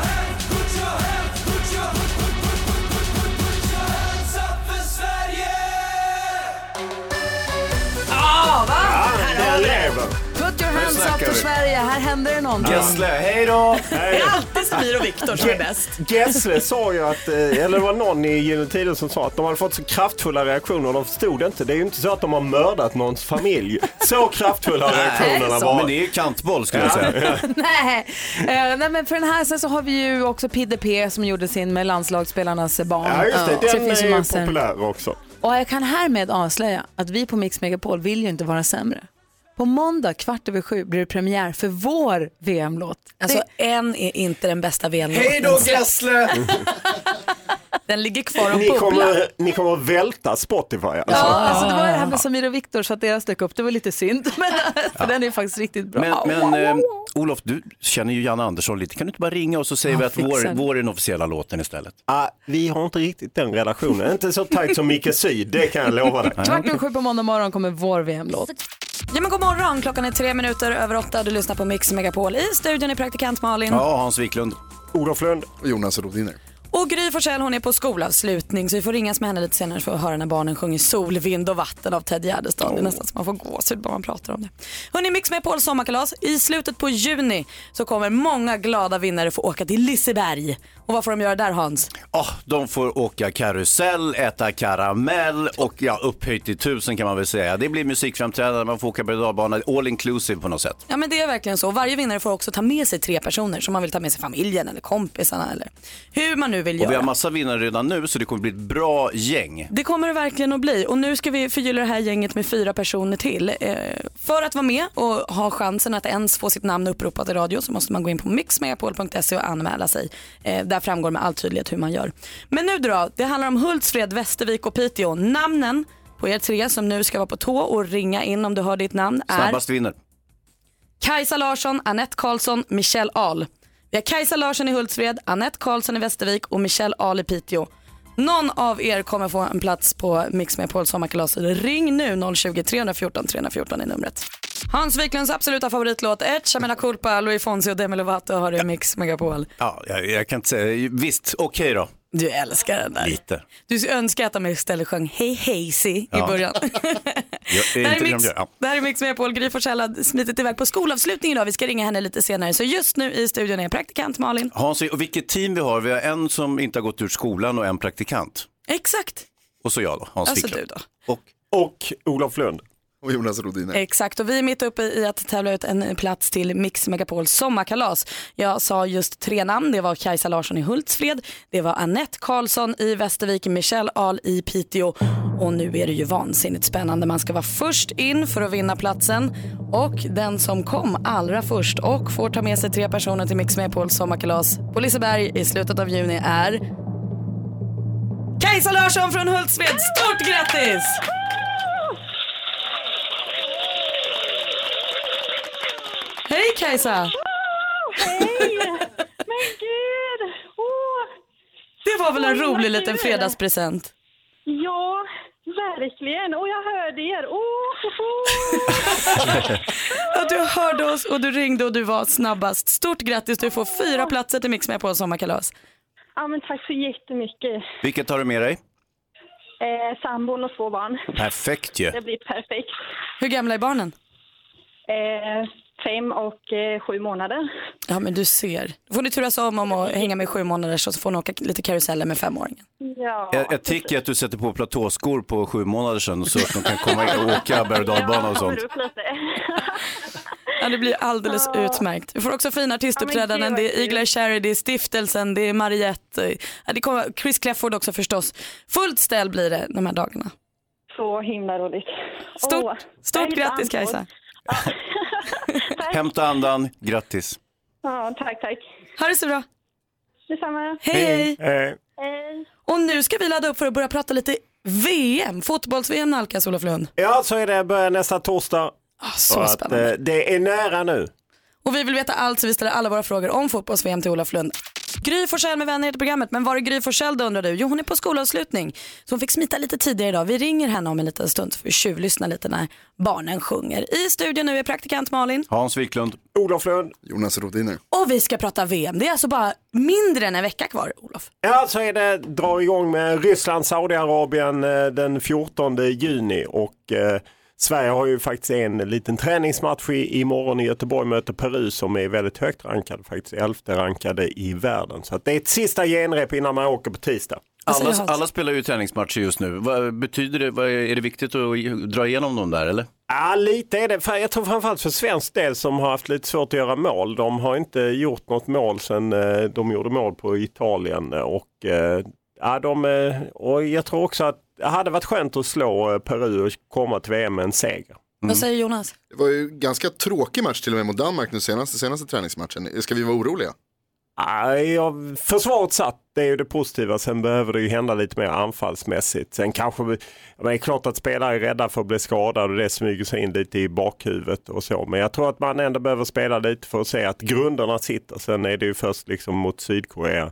[SPEAKER 1] Ah, va? Här har
[SPEAKER 26] Den
[SPEAKER 1] vi det.
[SPEAKER 26] lever.
[SPEAKER 1] Put your
[SPEAKER 26] Nu
[SPEAKER 1] hands up
[SPEAKER 26] snackar
[SPEAKER 1] för
[SPEAKER 26] vi.
[SPEAKER 1] Sverige, här händer det någonting.
[SPEAKER 26] hej då!
[SPEAKER 1] Det är alltid Samir och Viktor som är bäst.
[SPEAKER 26] Gessle sa ju att, eh, eller det var någon i Gyllene Tider som sa att de hade fått så kraftfulla reaktioner och de förstod inte. Det är ju inte så att de har mördat någons familj. Så kraftfulla har
[SPEAKER 7] Nej,
[SPEAKER 26] reaktionerna
[SPEAKER 7] så.
[SPEAKER 26] var.
[SPEAKER 7] Men det är ju kantboll skulle jag säga.
[SPEAKER 1] nej. Eh, nej, men för den här sen så har vi ju också Pidde P som gjorde sin med landslagsspelarnas barn.
[SPEAKER 26] Ja just det,
[SPEAKER 1] Så
[SPEAKER 26] den
[SPEAKER 1] finns ju
[SPEAKER 26] är ju
[SPEAKER 1] massor.
[SPEAKER 26] populär också.
[SPEAKER 1] Och jag kan härmed avslöja att vi på Mix Megapol vill ju inte vara sämre. På måndag kvart över sju blir det premiär för vår VM-låt.
[SPEAKER 2] Alltså en är inte den bästa VM-låten.
[SPEAKER 26] Hej då, Gessle!
[SPEAKER 2] den ligger kvar och
[SPEAKER 26] Ni
[SPEAKER 2] bubblar.
[SPEAKER 26] kommer, ni kommer att välta Spotify alltså.
[SPEAKER 1] Ja, alltså det var ju
[SPEAKER 2] Ah.
[SPEAKER 1] det här med Samir och Viktor så att deras dök upp, det var lite synd. Men för den är faktiskt riktigt bra.
[SPEAKER 7] Men, men eh, Olof, du känner ju Janne Andersson lite. Kan du inte bara ringa och så säger
[SPEAKER 26] Ja,
[SPEAKER 7] vi att
[SPEAKER 26] fixar
[SPEAKER 7] vår,
[SPEAKER 26] det.
[SPEAKER 7] vår är den officiella låten istället?
[SPEAKER 26] Ah, vi har inte riktigt den relationen. Inte så tajt som Micke Syd, det kan jag lova dig.
[SPEAKER 1] Kvart över sju på måndag morgon kommer vår VM-låt.
[SPEAKER 2] Ja, men god morgon, klockan är tre minuter över åtta och du lyssnar på Mix Megapol. I studion är praktikant Malin.
[SPEAKER 7] Hans Wiklund.
[SPEAKER 26] Olof Lund.
[SPEAKER 14] Jonas Rodiner.
[SPEAKER 2] Och Gry Forssell hon är på skolavslutning så vi får ringas med henne lite senare för att höra när barnen sjunger Sol, vind och vatten av Ted Gärdestad. Det är nästan så man får gåshud bara man pratar om det. Hörrni, Mix med Pauls sommarkalas. I slutet på juni så kommer många glada vinnare få åka till Liseberg. Och vad får de göra där Hans?
[SPEAKER 7] Ja, de får åka karusell, äta karamell och ja, upphöjt till tusen kan man väl säga. Det blir musikframträdande, man får åka berg och dalbana, all inclusive på något sätt.
[SPEAKER 2] Ja men det är verkligen så. Varje vinnare får också ta med sig tre personer som man vill ta med sig familjen eller kompisarna eller hur man nu vill
[SPEAKER 7] Och vi
[SPEAKER 2] göra.
[SPEAKER 7] har massa vinnare redan nu så det kommer bli ett bra gäng.
[SPEAKER 2] Det kommer det verkligen att bli och nu ska vi förgylla det här gänget med fyra personer till. Eh, för att vara med och ha chansen att ens få sitt namn uppropat i radio så måste man gå in på mixmegapol.se och anmäla sig. Eh, där framgår med all tydlighet hur man gör. Men nu då, det handlar om Hultsfred, Västervik och Piteå. Namnen på er tre som nu ska vara på tå och ringa in om du hör ditt namn är
[SPEAKER 7] Snabbast vinner.
[SPEAKER 2] Kajsa Larsson, Annette Karlsson, Michelle Ahl. Vi har Kajsa Larsson i Hultsfred, Annette Karlsson i Västervik och Michelle Ahl i Piteå. Någon av er kommer få en plats på Mix med Paul sommarkalas. Ring nu 020-314 314 är numret. Hans Wiklunds absoluta favoritlåt, Echa Mela Culpa, Louis Fonsi och Demi Lovato har du i Mix Megapol.
[SPEAKER 7] Ja, jag, jag kan inte säga, visst, okej då.
[SPEAKER 2] Du älskar den där.
[SPEAKER 7] Lite.
[SPEAKER 2] Du önskar att de istället sjöng Hey Hazy i
[SPEAKER 7] Ja.
[SPEAKER 2] början.
[SPEAKER 7] Jag,
[SPEAKER 2] Det här,
[SPEAKER 7] inte
[SPEAKER 2] är
[SPEAKER 7] det de
[SPEAKER 2] Mix,
[SPEAKER 7] gör. Ja.
[SPEAKER 2] det här är Mix med Paul Gry Forssell har smitit iväg på skolavslutning idag. Vi ska ringa henne lite senare. Så just nu i studion är praktikant Malin.
[SPEAKER 7] Hans, och vilket team vi har. Vi har en som inte har gått ur skolan och en praktikant.
[SPEAKER 2] Exakt,
[SPEAKER 7] Och så jag då, Hans
[SPEAKER 2] Alltså
[SPEAKER 7] Wiklund.
[SPEAKER 2] du
[SPEAKER 7] Och, och Olof Lund.
[SPEAKER 14] Och Jonas Rodiner.
[SPEAKER 2] exakt. Och vi är mitt uppe i att tävla ut en plats till Mix Megapols sommarkalas. Jag sa just tre namn. Det var Kajsa Larsson i Hultsfred, det var Annette Karlsson i Västervik, Michelle Ahl i Piteå och nu är det ju vansinnigt spännande. Man ska vara först in för att vinna platsen och den som kom allra först och får ta med sig tre personer till Mix Megapols sommarkalas på Liseberg i slutet av juni är Kajsa Larsson från Hultsfred. Stort grattis! Hej Kajsa!
[SPEAKER 27] Hej! Men gud! Åh!
[SPEAKER 2] Det var väl en
[SPEAKER 27] Oj, vad
[SPEAKER 2] rolig liten
[SPEAKER 27] kul.
[SPEAKER 2] fredagspresent?
[SPEAKER 27] Ja, verkligen. Och jag hörde er. Åh!
[SPEAKER 2] Ja, du hörde oss och du ringde och du var snabbast. Stort grattis, du får fyra platser till Mix med på sommarkalas.
[SPEAKER 27] Ja, men tack så jättemycket.
[SPEAKER 7] Vilket tar du med dig?
[SPEAKER 27] Eh, sambon och två barn.
[SPEAKER 7] Perfekt ju.
[SPEAKER 27] Det blir perfekt.
[SPEAKER 2] Hur gamla är barnen?
[SPEAKER 27] Eh, fem och eh, sju månader.
[SPEAKER 2] Ja, men du ser. Då får ni turas om om att hänga med i sju månader så får ni åka lite karuseller med femåringen.
[SPEAKER 27] Ja.
[SPEAKER 7] Ett- Ett tick är att du sätter på platåskor på sju månader sedan så att de kan komma in och åka berg och dalbana och sånt.
[SPEAKER 2] Ja, det blir alldeles utmärkt. Vi får också fina artistuppträdanden.
[SPEAKER 27] Ja, men gud,
[SPEAKER 2] Det är Eagler Cherry, det är Stiftelsen, det är Mariette. Ja, det kommer Chris Clefford också förstås. Fullt ställ blir det de här dagarna.
[SPEAKER 27] Så himla roligt.
[SPEAKER 2] Stort,
[SPEAKER 27] Åh, jag
[SPEAKER 2] stort
[SPEAKER 27] är lite
[SPEAKER 2] grattis
[SPEAKER 27] andfådd.
[SPEAKER 2] Kajsa.
[SPEAKER 7] Hämta andan, grattis.
[SPEAKER 27] Ja, tack, tack.
[SPEAKER 2] Ha det så bra.
[SPEAKER 27] Detsamma.
[SPEAKER 2] Hej,
[SPEAKER 7] hej.
[SPEAKER 27] Hej.
[SPEAKER 2] Och nu ska vi ladda upp för att börja prata lite VM. Fotbolls-VM nalkas Olof Lund.
[SPEAKER 26] Ja, så är det. Börjar nästa torsdag.
[SPEAKER 2] så
[SPEAKER 26] Så att,
[SPEAKER 2] spännande.
[SPEAKER 26] eh, det är nära nu.
[SPEAKER 2] Och vi vill veta allt så vi ställer alla våra frågor om fotbolls-VM till Olof Lund. Gry Forssell med vänner heter programmet, men var är Gry Forssell då undrar du? Jo hon är på skolavslutning så hon fick smita lite tidigare idag. Vi ringer henne om en liten stund så får vi tjuvlyssna lite när barnen sjunger. I studion nu är praktikant Malin
[SPEAKER 7] Hans Wiklund.
[SPEAKER 26] Olof Lund.
[SPEAKER 14] Jonas Rodiner.
[SPEAKER 2] och vi ska prata VM. Det är alltså bara mindre än en vecka kvar Olof.
[SPEAKER 26] Ja, så är det. Drar igång med Ryssland, Saudiarabien eh, den 14 juni och eh, Sverige har ju faktiskt en liten träningsmatch i, imorgon i Göteborg möter Peru som är väldigt högt rankade, faktiskt elfte rankade i världen. Så att det är ett sista genrep innan man åker på tisdag.
[SPEAKER 7] Alla, alla spelar ju träningsmatcher just nu. Vad betyder det, vad, är det viktigt att dra igenom dem där eller?
[SPEAKER 26] Ja, lite är det. För Jag tror framförallt för svensk del som har haft lite svårt att göra mål. De har inte gjort något mål sedan eh, de gjorde mål på Italien. Och, eh, ja, de, eh, och jag tror också att det hade varit skönt att slå eh, Peru och komma till VM med en seger.
[SPEAKER 2] Vad säger Jonas?
[SPEAKER 14] Det var ju ganska tråkig match till och med mot Danmark nu senaste, senaste träningsmatchen. Ska vi vara oroliga?
[SPEAKER 26] Ja, jag- Försvaret satt, det är ju det positiva. Sen behöver det ju hända lite mer anfallsmässigt. Sen kanske, vi- ja, men det är klart att spelare är rädda för att bli skadade och det smyger sig in lite i bakhuvudet och så. Men jag tror att man ändå behöver spela lite för att se att grunderna sitter. Sen är det ju först liksom mot Sydkorea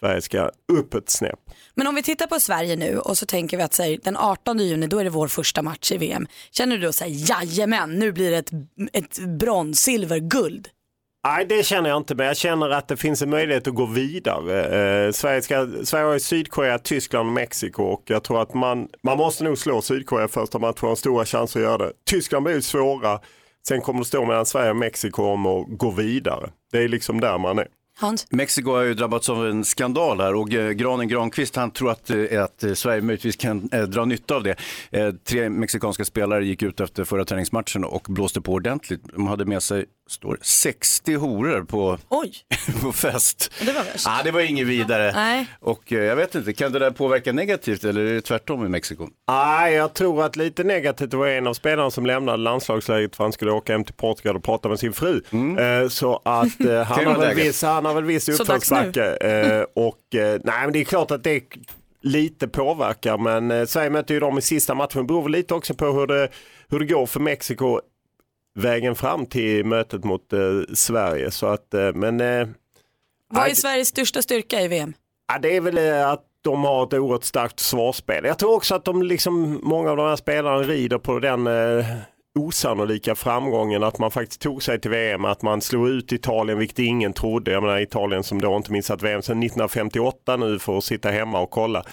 [SPEAKER 26] Sverige ska upp ett snäpp.
[SPEAKER 2] Men om vi tittar på Sverige nu och så tänker vi att så här, den 18 juni då är det vår första match i VM. Känner du då så här, jajamän, nu blir det ett, ett brons, silver, guld?
[SPEAKER 26] Nej, det känner jag inte, men jag känner att det finns en möjlighet att gå vidare. Eh, Sverige, ska, Sverige har ju Sydkorea, Tyskland och Mexiko och jag tror att man, man måste nog slå Sydkorea första matchen och har stora chanser att göra det. Tyskland blir ju svåra, sen kommer det stå mellan Sverige och Mexiko om att gå vidare. Det är liksom där man är.
[SPEAKER 7] Mexiko har ju drabbats av en skandal här och eh, Granen Granqvist han tror att, eh, att eh, Sverige möjligtvis kan eh, dra nytta av det. Eh, tre mexikanska spelare gick ut efter förra träningsmatchen och blåste på ordentligt. De hade med sig står, det, 60 horor på, på fest.
[SPEAKER 2] Det var värst.
[SPEAKER 7] Ah, det var inget vidare.
[SPEAKER 2] Nej.
[SPEAKER 7] Och eh, jag vet inte, kan det där påverka negativt eller är det tvärtom i Mexiko?
[SPEAKER 26] Nej, jag tror att lite negativt det var en av spelarna som lämnade landslagsläget för han skulle åka hem till Portugal och prata med sin fru. Eh, Så att eh, han,
[SPEAKER 7] Kul
[SPEAKER 26] har väl
[SPEAKER 7] läget.
[SPEAKER 26] viss, han har väl viss
[SPEAKER 7] Så dags nu.
[SPEAKER 26] uppförsbacke. Eh, Och eh, nej, men det är klart att det k- lite påverkar, men eh, Sverige möter ju dem i sista matchen. Det beror väl lite också på hur det, hur det går för Mexiko vägen fram till mötet mot eh, Sverige. Så att, eh, men eh,
[SPEAKER 2] Vad är
[SPEAKER 26] nej,
[SPEAKER 2] Sveriges största styrka i VM?
[SPEAKER 26] Ja, det är väl eh, att de har ett oerhört starkt försvarsspel. Jag tror också att de liksom, många av de här spelarna rider på den eh, osannolika framgången att man faktiskt tog sig till VM, att man slog ut Italien, vilket ingen trodde. Jag menar Italien som då inte minns att VM sedan 1958 nu får sitta hemma och kolla.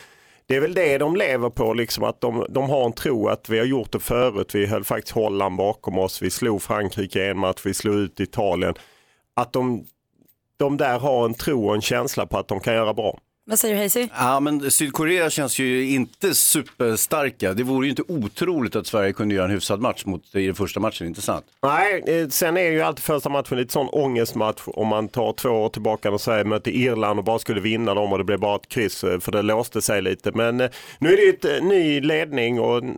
[SPEAKER 26] Det är väl det de lever på, liksom, att de, de har en tro att vi har gjort det förut. Vi höll faktiskt Holland bakom oss, vi slog Frankrike i en match, vi slog ut Italien. Att de, de där har en tro och en känsla på att de kan göra bra.
[SPEAKER 2] Vad säger du Hazy?
[SPEAKER 7] Ja, men Sydkorea känns ju inte superstarka. Det vore ju inte otroligt att Sverige kunde göra en hyfsad match mot, i den första matchen, inte sant?
[SPEAKER 26] Nej, eh, sen är ju alltid första matchen lite sån ångestmatch om man tar två år tillbaka och Sverige mötte Irland och bara skulle vinna dem och det blev bara ett kryss eh, för det låste sig lite. Men eh, nu är det ju ett eh, ny ledning och en,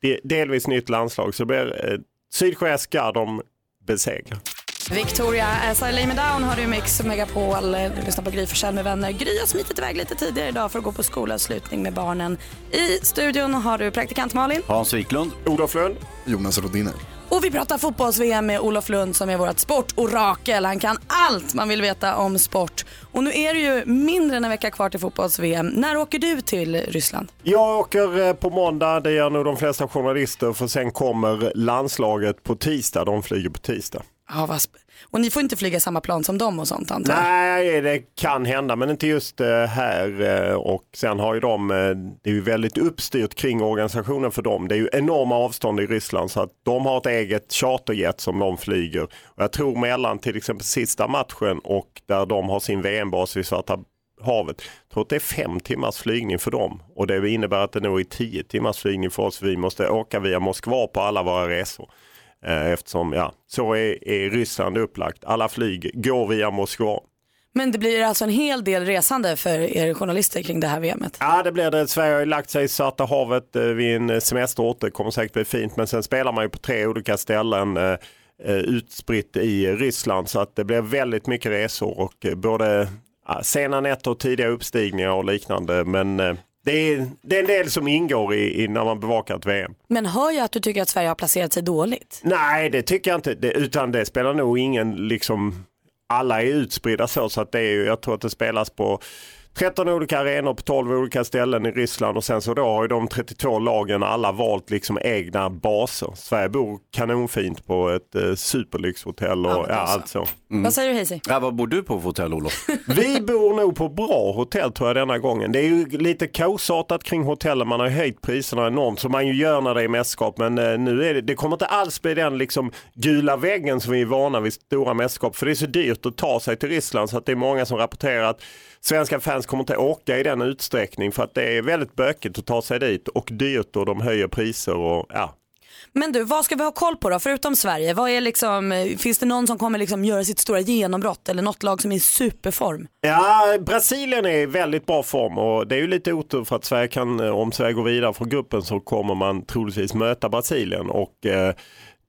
[SPEAKER 26] de- delvis nytt landslag så det blir, eh, Sydkorea ska de besegra.
[SPEAKER 2] Victoria, As I lay me down har du i Mix Megapol. Eh, Du lyssnar på Gry Forssell med vänner. Gry har smitit iväg lite tidigare idag för att gå på skolavslutning med barnen. I studion har du praktikant Malin.
[SPEAKER 7] Hans Wiklund.
[SPEAKER 26] Olof Lund.
[SPEAKER 14] Jonas Rodiner.
[SPEAKER 2] Och vi pratar fotbolls-VM med Olof Lund som är vårt sportorakel. Han kan allt man vill veta om sport. Och nu är det ju mindre än en vecka kvar till fotbolls-VM. När åker du till Ryssland?
[SPEAKER 26] Jag åker eh, på måndag, det gör nog de flesta journalister för sen kommer landslaget på tisdag, de flyger på tisdag.
[SPEAKER 2] Ja, vad sp- och ni får inte flyga samma plan som dem och sånt antar jag?
[SPEAKER 26] Nej, det kan hända, men inte just eh, här. eh, Och sen har ju de, eh, det är ju väldigt uppstyrt kring organisationen för dem. Det är ju enorma avstånd i Ryssland så att de har ett eget charterjet som de flyger. Och jag tror mellan till exempel sista matchen och där de har sin VM-bas vid Svarta havet. Jag tror att det är fem timmars flygning för dem och det innebär att det nog är tio timmars flygning för oss. Vi måste åka via Moskva på alla våra resor. Eh, Eftersom ja, så är, är Ryssland upplagt. Alla flyg går via Moskva.
[SPEAKER 2] Men det blir alltså en hel del resande för er journalister kring det här VMet.
[SPEAKER 26] Ja det blir det. Sverige har ju lagt sig i Svarta havet eh, vid en semesterort. Det kommer säkert bli fint men sen spelar man ju på tre olika ställen eh, eh, utspritt i Ryssland så att det blir väldigt mycket resor och eh, både ja, sena nätter och tidiga uppstigningar och liknande. Men eh, det är, det är en del som ingår i, i när man bevakar ett VM.
[SPEAKER 2] Men hör jag att du tycker att Sverige har placerat sig dåligt?
[SPEAKER 26] Nej, det tycker jag inte. Det, utan det spelar nog ingen, liksom, alla är utspridda så, så att det är ju, jag tror att det spelas på 13 olika arenor på 12 olika ställen i Ryssland och sen så då har ju de 32 lagen alla valt liksom egna baser. Sverige bor kanonfint på ett eh, superlyxhotell och ja, allt så. Mm.
[SPEAKER 2] Vad säger du Hazy?
[SPEAKER 7] Ja, vad bor du på för hotell Olof?
[SPEAKER 26] Vi bor nog på bra hotell tror jag denna gången. Det är ju lite kaosartat kring hotellen. Man har ju höjt priserna enormt som man ju gör när det är mästerskap. Men eh, nu är det, det kommer inte alls bli den liksom gula väggen som vi är vana vid stora mästerskap. För det är så dyrt att ta sig till Ryssland så att det är många som rapporterar att svenska fans kommer inte åka i den utsträckning för att det är väldigt bökigt att ta sig dit och dyrt och de höjer priser och ja,
[SPEAKER 2] Men du, vad ska vi ha koll på då, förutom Sverige? Vad är liksom, eh, finns det någon som kommer liksom göra sitt stora genombrott eller något lag som är i superform?
[SPEAKER 26] Ja, Brasilien är i väldigt bra form och det är ju lite otur för att Sverige kan, eh, om Sverige går vidare från gruppen så kommer man troligtvis möta Brasilien och eh,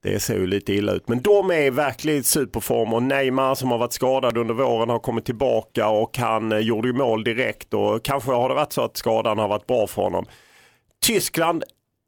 [SPEAKER 26] det ser ju lite illa ut. Men de är i verkligen i superform och Neymar som har varit skadad under våren har kommit tillbaka och han eh, gjorde ju mål direkt och kanske har det varit så att skadan har varit bra för honom. Tyskland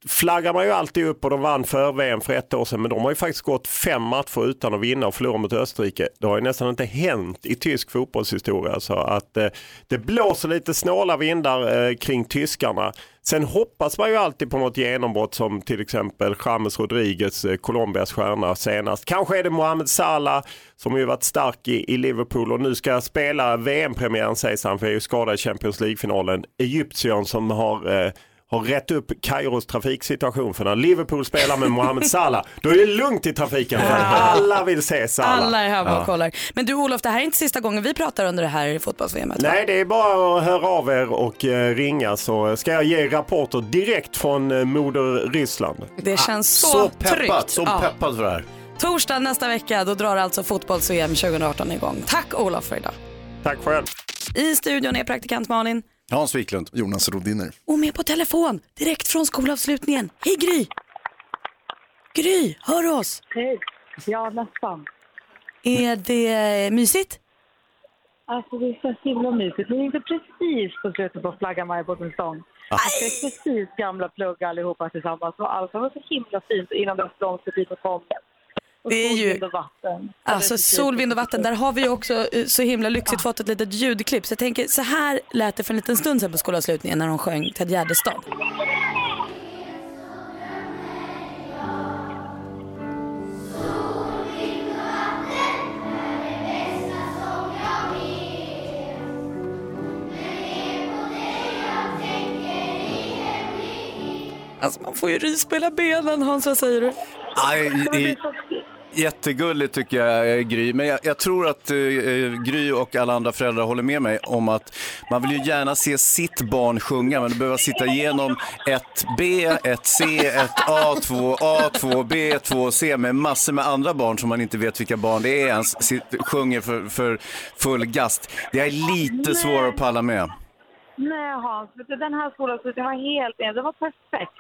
[SPEAKER 26] flaggar man ju alltid upp och de vann för VM för ett år sedan men de har ju faktiskt gått fem matcher utan att vinna och förlora mot Österrike. Det har ju nästan inte hänt i tysk fotbollshistoria så att eh, det blåser lite snåla vindar eh, kring tyskarna. Sen hoppas man ju alltid på något genombrott som till exempel James Rodriguez, eh, Colombias stjärna senast. Kanske är det Mohamed Salah som ju varit stark i, i Liverpool och nu ska spela VM-premiären sägs han för jag är ju skadad i Champions League-finalen. Egyptiern som har eh, har rätt upp Kairos trafiksituation för när Liverpool spelar med Mohamed Salah då är det lugnt i trafiken. för Alla vill se Salah.
[SPEAKER 2] Alla är här bara
[SPEAKER 26] Ja.
[SPEAKER 2] och kollar. Men du Olof, det här är inte sista gången vi pratar under det här fotbolls
[SPEAKER 26] Nej, det är bara att höra av er och eh, ringa så ska jag ge rapporter direkt från eh, moder Ryssland.
[SPEAKER 2] Det känns så,
[SPEAKER 26] Ah, så
[SPEAKER 2] tryggt.
[SPEAKER 26] peppat, så
[SPEAKER 2] Ja.
[SPEAKER 26] peppat för det här.
[SPEAKER 2] Torsdag nästa vecka, då drar alltså fotbolls-VM 2018 igång. Tack Olof för idag.
[SPEAKER 26] Tack själv.
[SPEAKER 2] I studion är praktikant Malin
[SPEAKER 14] Hans Wiklund. Jonas Rodiner.
[SPEAKER 2] och med på telefon direkt från skolavslutningen. Hej Gry! Gry, hör du oss?
[SPEAKER 1] Hej. Ja, nästan.
[SPEAKER 2] Är det eh, mysigt?
[SPEAKER 1] Alltså det är så himla mysigt. Vi hängde precis på slutet på flaggan Majborgens sång.
[SPEAKER 9] Ah.
[SPEAKER 1] Vi är precis gamla plugg allihopa tillsammans. Och allt var så himla fint innan det blomstrade dit och kom. Och
[SPEAKER 2] Det är ju-
[SPEAKER 1] solvind Och vatten. typ-
[SPEAKER 2] Alltså sol, vind och vatten, där har vi ju också eh, så himla lyxigt fått ett litet ljudklipp. Så jag tänker, så här lät det för en liten stund sedan på skolavslutningen när de sjöng Ted Gärdestad. Alltså man får ju rys på hela benen Hans, vad säger du?
[SPEAKER 7] Aj, i, jättegulligt tycker jag, eh, Gry. Men jag, jag tror att eh, eh, Gry och alla andra föräldrar håller med mig om att man vill ju gärna se sitt barn sjunga, men du behöver sitta igenom ett B, ett C, ett A, två A, två B, två C med massor med andra barn som man inte vet vilka barn det är ens, sit- sjunger för, för full gast. Det är lite svårare att palla med.
[SPEAKER 1] Nej Hans, vet du, den här skolavslutningen var helt enig. Det var perfekt.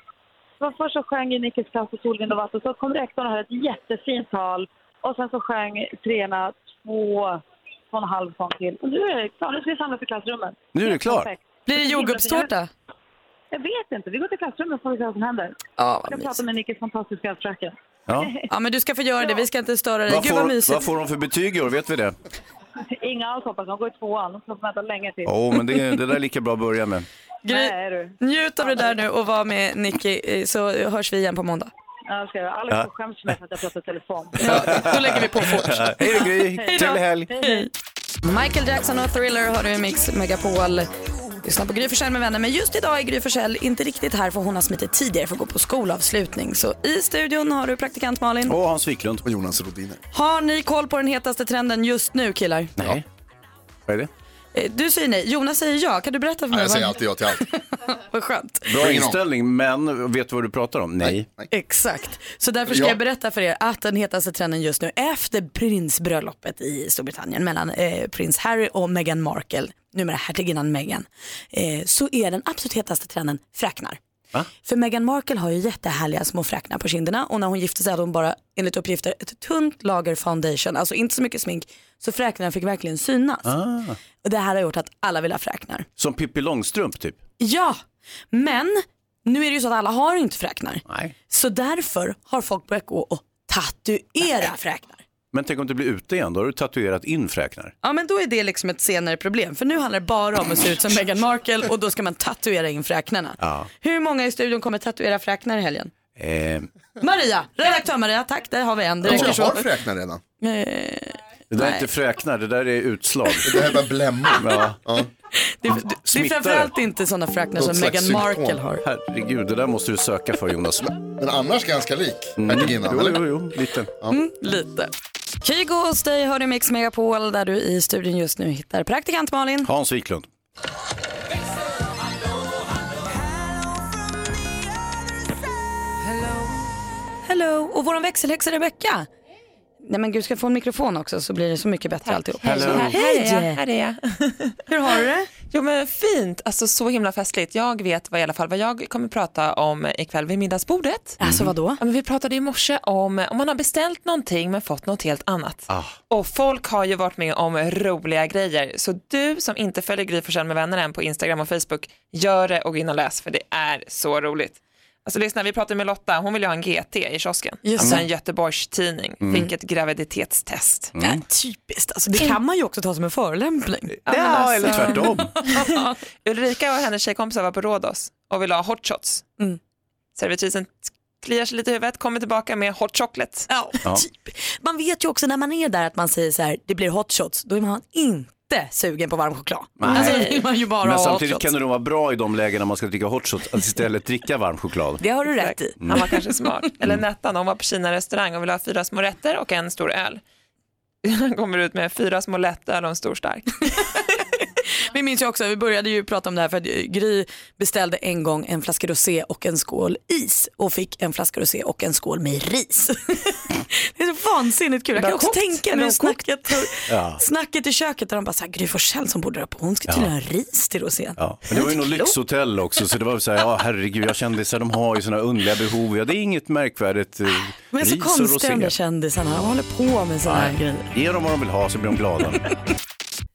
[SPEAKER 1] Det var först så sjöng Nikes klass på Solvind och vatten. Så kom rektorn och höll ett jättefint tal. Och sen så sjöng Trena två, två och en halv sång till. Och nu är det klart. Nu ska vi samlas i klassrummet.
[SPEAKER 7] Nu är det klart.
[SPEAKER 1] Perfekt.
[SPEAKER 2] Blir det jordgubbstårta?
[SPEAKER 1] Jag vet inte. Vi går till klassrummet och får vi se vad som händer.
[SPEAKER 2] Ja, vad
[SPEAKER 1] jag
[SPEAKER 2] mysigt.
[SPEAKER 1] pratar med Nikes fantastiska fröken.
[SPEAKER 7] Ja.
[SPEAKER 2] Ja men du ska få göra det, vi ska inte störa dig.
[SPEAKER 7] Vad
[SPEAKER 2] Gud vad
[SPEAKER 7] får, vad
[SPEAKER 2] mysigt.
[SPEAKER 7] får de för betyg i år? Vet vi det?
[SPEAKER 1] Inga alls hoppas jag. De går i tvåan. De får vänta länge till.
[SPEAKER 7] Jo, men det, det där är lika bra att börja med.
[SPEAKER 1] Nej, du.
[SPEAKER 2] Njut av det där nu och var med Nicky eh, så hörs vi igen på måndag.
[SPEAKER 1] Ja, det ska jag. Alex
[SPEAKER 7] Ja.
[SPEAKER 1] får skäms för mig för att jag pratar i telefon.
[SPEAKER 2] Då lägger vi på fort.
[SPEAKER 7] Hej då, Gry.
[SPEAKER 2] Hej då.
[SPEAKER 7] Trevlig helg.
[SPEAKER 2] Hej. Michael Jackson och Thriller har du i Mix Megapol. Lyssna på Gry Forssell med vänner. Men just idag är Gry Forssell inte riktigt här för hon har smitit tidigare för att gå på skolavslutning. Så i studion har du praktikant Malin.
[SPEAKER 7] Och Hans Wiklund.
[SPEAKER 14] Och Jonas Rodiner.
[SPEAKER 2] Har ni koll på den hetaste trenden just nu killar?
[SPEAKER 7] Nej. Vad är det?
[SPEAKER 2] Eh, Du säger nej, Jonas säger ja. Kan du berätta för mig?
[SPEAKER 7] jag säger
[SPEAKER 2] vad-
[SPEAKER 7] alltid ja till allt.
[SPEAKER 2] Vad skönt.
[SPEAKER 7] Bra inställning, men vet du vad du pratar om? Nej.
[SPEAKER 2] Exakt. Så därför ska
[SPEAKER 7] Ja.
[SPEAKER 2] jag berätta för er att den hetaste trenden just nu efter prinsbröllopet i Storbritannien mellan eh, prins Harry och Meghan Markle, numera hertiginnan Meghan, eh, så är den absolut hetaste trenden fräknar. För Meghan Markle har ju jättehärliga små fräknar på kinderna och när hon gifte sig hade hon bara enligt uppgifter ett tunt lager foundation, alltså inte så mycket smink, så fräknarna fick verkligen synas.
[SPEAKER 7] Ah.
[SPEAKER 2] Och det här har gjort att alla vill ha fräknar.
[SPEAKER 7] Som Pippi Långstrump typ.
[SPEAKER 2] Ja, men nu är det ju så att alla har inte fräknar.
[SPEAKER 7] Nej.
[SPEAKER 2] Så därför har folk börjat gå och tatuera fräknar.
[SPEAKER 7] Men tänk om du blir ute igen, då har du tatuerat in fräknar.
[SPEAKER 2] Ja men då är det liksom ett senare problem för nu handlar det bara om att se ut som Meghan Markle och då ska man tatuera in fräknarna.
[SPEAKER 7] Ja.
[SPEAKER 2] Hur många i studion kommer tatuera fräknar i helgen?
[SPEAKER 7] Eh,
[SPEAKER 2] Maria, redaktör Maria, tack där har vi en. Det
[SPEAKER 14] Jag
[SPEAKER 2] räcker
[SPEAKER 14] har
[SPEAKER 2] så.
[SPEAKER 14] fräknar redan.
[SPEAKER 2] Eh,
[SPEAKER 7] det där är
[SPEAKER 2] Nej.
[SPEAKER 7] inte fräknar, det där är utslag.
[SPEAKER 14] Det här är bara blemmor.
[SPEAKER 7] Ja.
[SPEAKER 2] Det, det, det är
[SPEAKER 7] Smittar
[SPEAKER 2] framförallt inte sådana fräknar
[SPEAKER 7] Något
[SPEAKER 2] som
[SPEAKER 7] slags
[SPEAKER 2] Meghan
[SPEAKER 7] symptom.
[SPEAKER 2] Markle har.
[SPEAKER 7] Herregud, det där måste du söka för Jonas. Mm.
[SPEAKER 14] Men annars ganska lik hertiginnan,
[SPEAKER 7] Jo,
[SPEAKER 14] eller?
[SPEAKER 7] jo, jo, lite.
[SPEAKER 2] Mm, lite. Kygo hos dig hör du Mix Megapol där du i studion just nu hittar praktikant Malin.
[SPEAKER 7] Hans Wiklund.
[SPEAKER 2] Hello! Och vår växelhäxa Rebecka. Nej men gud, ska jag få en mikrofon också så blir det så mycket bättre alltihop.
[SPEAKER 3] Här, här är jag. Här är jag.
[SPEAKER 2] Hur har du det?
[SPEAKER 3] Jo men fint, alltså så himla festligt. Jag vet vad, i alla fall vad jag kommer prata om ikväll vid middagsbordet.
[SPEAKER 2] Alltså vadå?
[SPEAKER 3] Ja, men vi pratade i morse om om man har beställt någonting men fått något helt annat. Och folk har ju varit med om roliga grejer. Så du som inte följer Gry Forssell med vänner än på Instagram och Facebook, gör det och gå in och läs för det är så roligt. Alltså lyssna, vi pratade med Lotta, hon ville ha en GT i kiosken.
[SPEAKER 2] Just
[SPEAKER 3] alltså
[SPEAKER 2] det.
[SPEAKER 3] en Göteborgstidning,
[SPEAKER 2] Mm.
[SPEAKER 3] fick ett graviditetstest.
[SPEAKER 2] Mm. Nej, typiskt, alltså, det kan man ju också ta som en förolämpning.
[SPEAKER 3] Ja, men alltså-
[SPEAKER 7] tvärtom.
[SPEAKER 3] Ulrika och hennes tjejkompisar var på Rhodos och ville ha hot shots.
[SPEAKER 2] Mm.
[SPEAKER 3] Servitrisen kliar sig lite i huvudet, kommer tillbaka med hot chocolate.
[SPEAKER 2] Ja. Typ. Man vet ju också när man är där att man säger så här, det blir hot shots, då är man inte sugen på varm choklad. Alltså, då vill man ju bara
[SPEAKER 7] Men
[SPEAKER 2] ha hot
[SPEAKER 7] samtidigt
[SPEAKER 2] shots.
[SPEAKER 7] kan det nog vara bra i de lägena man ska dricka hot shots att istället dricka varm choklad.
[SPEAKER 2] Det har du rätt i.
[SPEAKER 3] Han var kanske smart. Eller Nettan, hon var på Kina restaurang och ville ha fyra små rätter och en stor öl. Han kommer ut med fyra små lättöl och en stor stark.
[SPEAKER 2] Vi minns ju också, vi började ju prata om det här för att eh, Gry beställde en gång en flaska rosé och en skål is och fick en flaska rosé och en skål med ris. det är så vansinnigt kul. Jag kan
[SPEAKER 28] Bara
[SPEAKER 2] också
[SPEAKER 28] kokt,
[SPEAKER 2] tänka
[SPEAKER 28] men
[SPEAKER 2] mig
[SPEAKER 28] kokt.
[SPEAKER 2] snacket,
[SPEAKER 7] Ja.
[SPEAKER 2] snacket i köket där de bara så här, Gry Forssell som borde där på, hon ska
[SPEAKER 7] Ja.
[SPEAKER 2] tydligen ha ris till rosén.
[SPEAKER 7] Ja. Men det var ju något lyxhotell också så det var ju så här, ja herregud, jag kändisar de har ju sådana underliga behov. Ja, det är inget märkvärdigt. eh,
[SPEAKER 2] Men så
[SPEAKER 7] ris och
[SPEAKER 2] konstiga de
[SPEAKER 7] rosé.
[SPEAKER 2] där kändisarna, de håller på med sådana här
[SPEAKER 7] Nej,
[SPEAKER 2] grejer.
[SPEAKER 7] Ge dem vad de vill ha så blir de glada.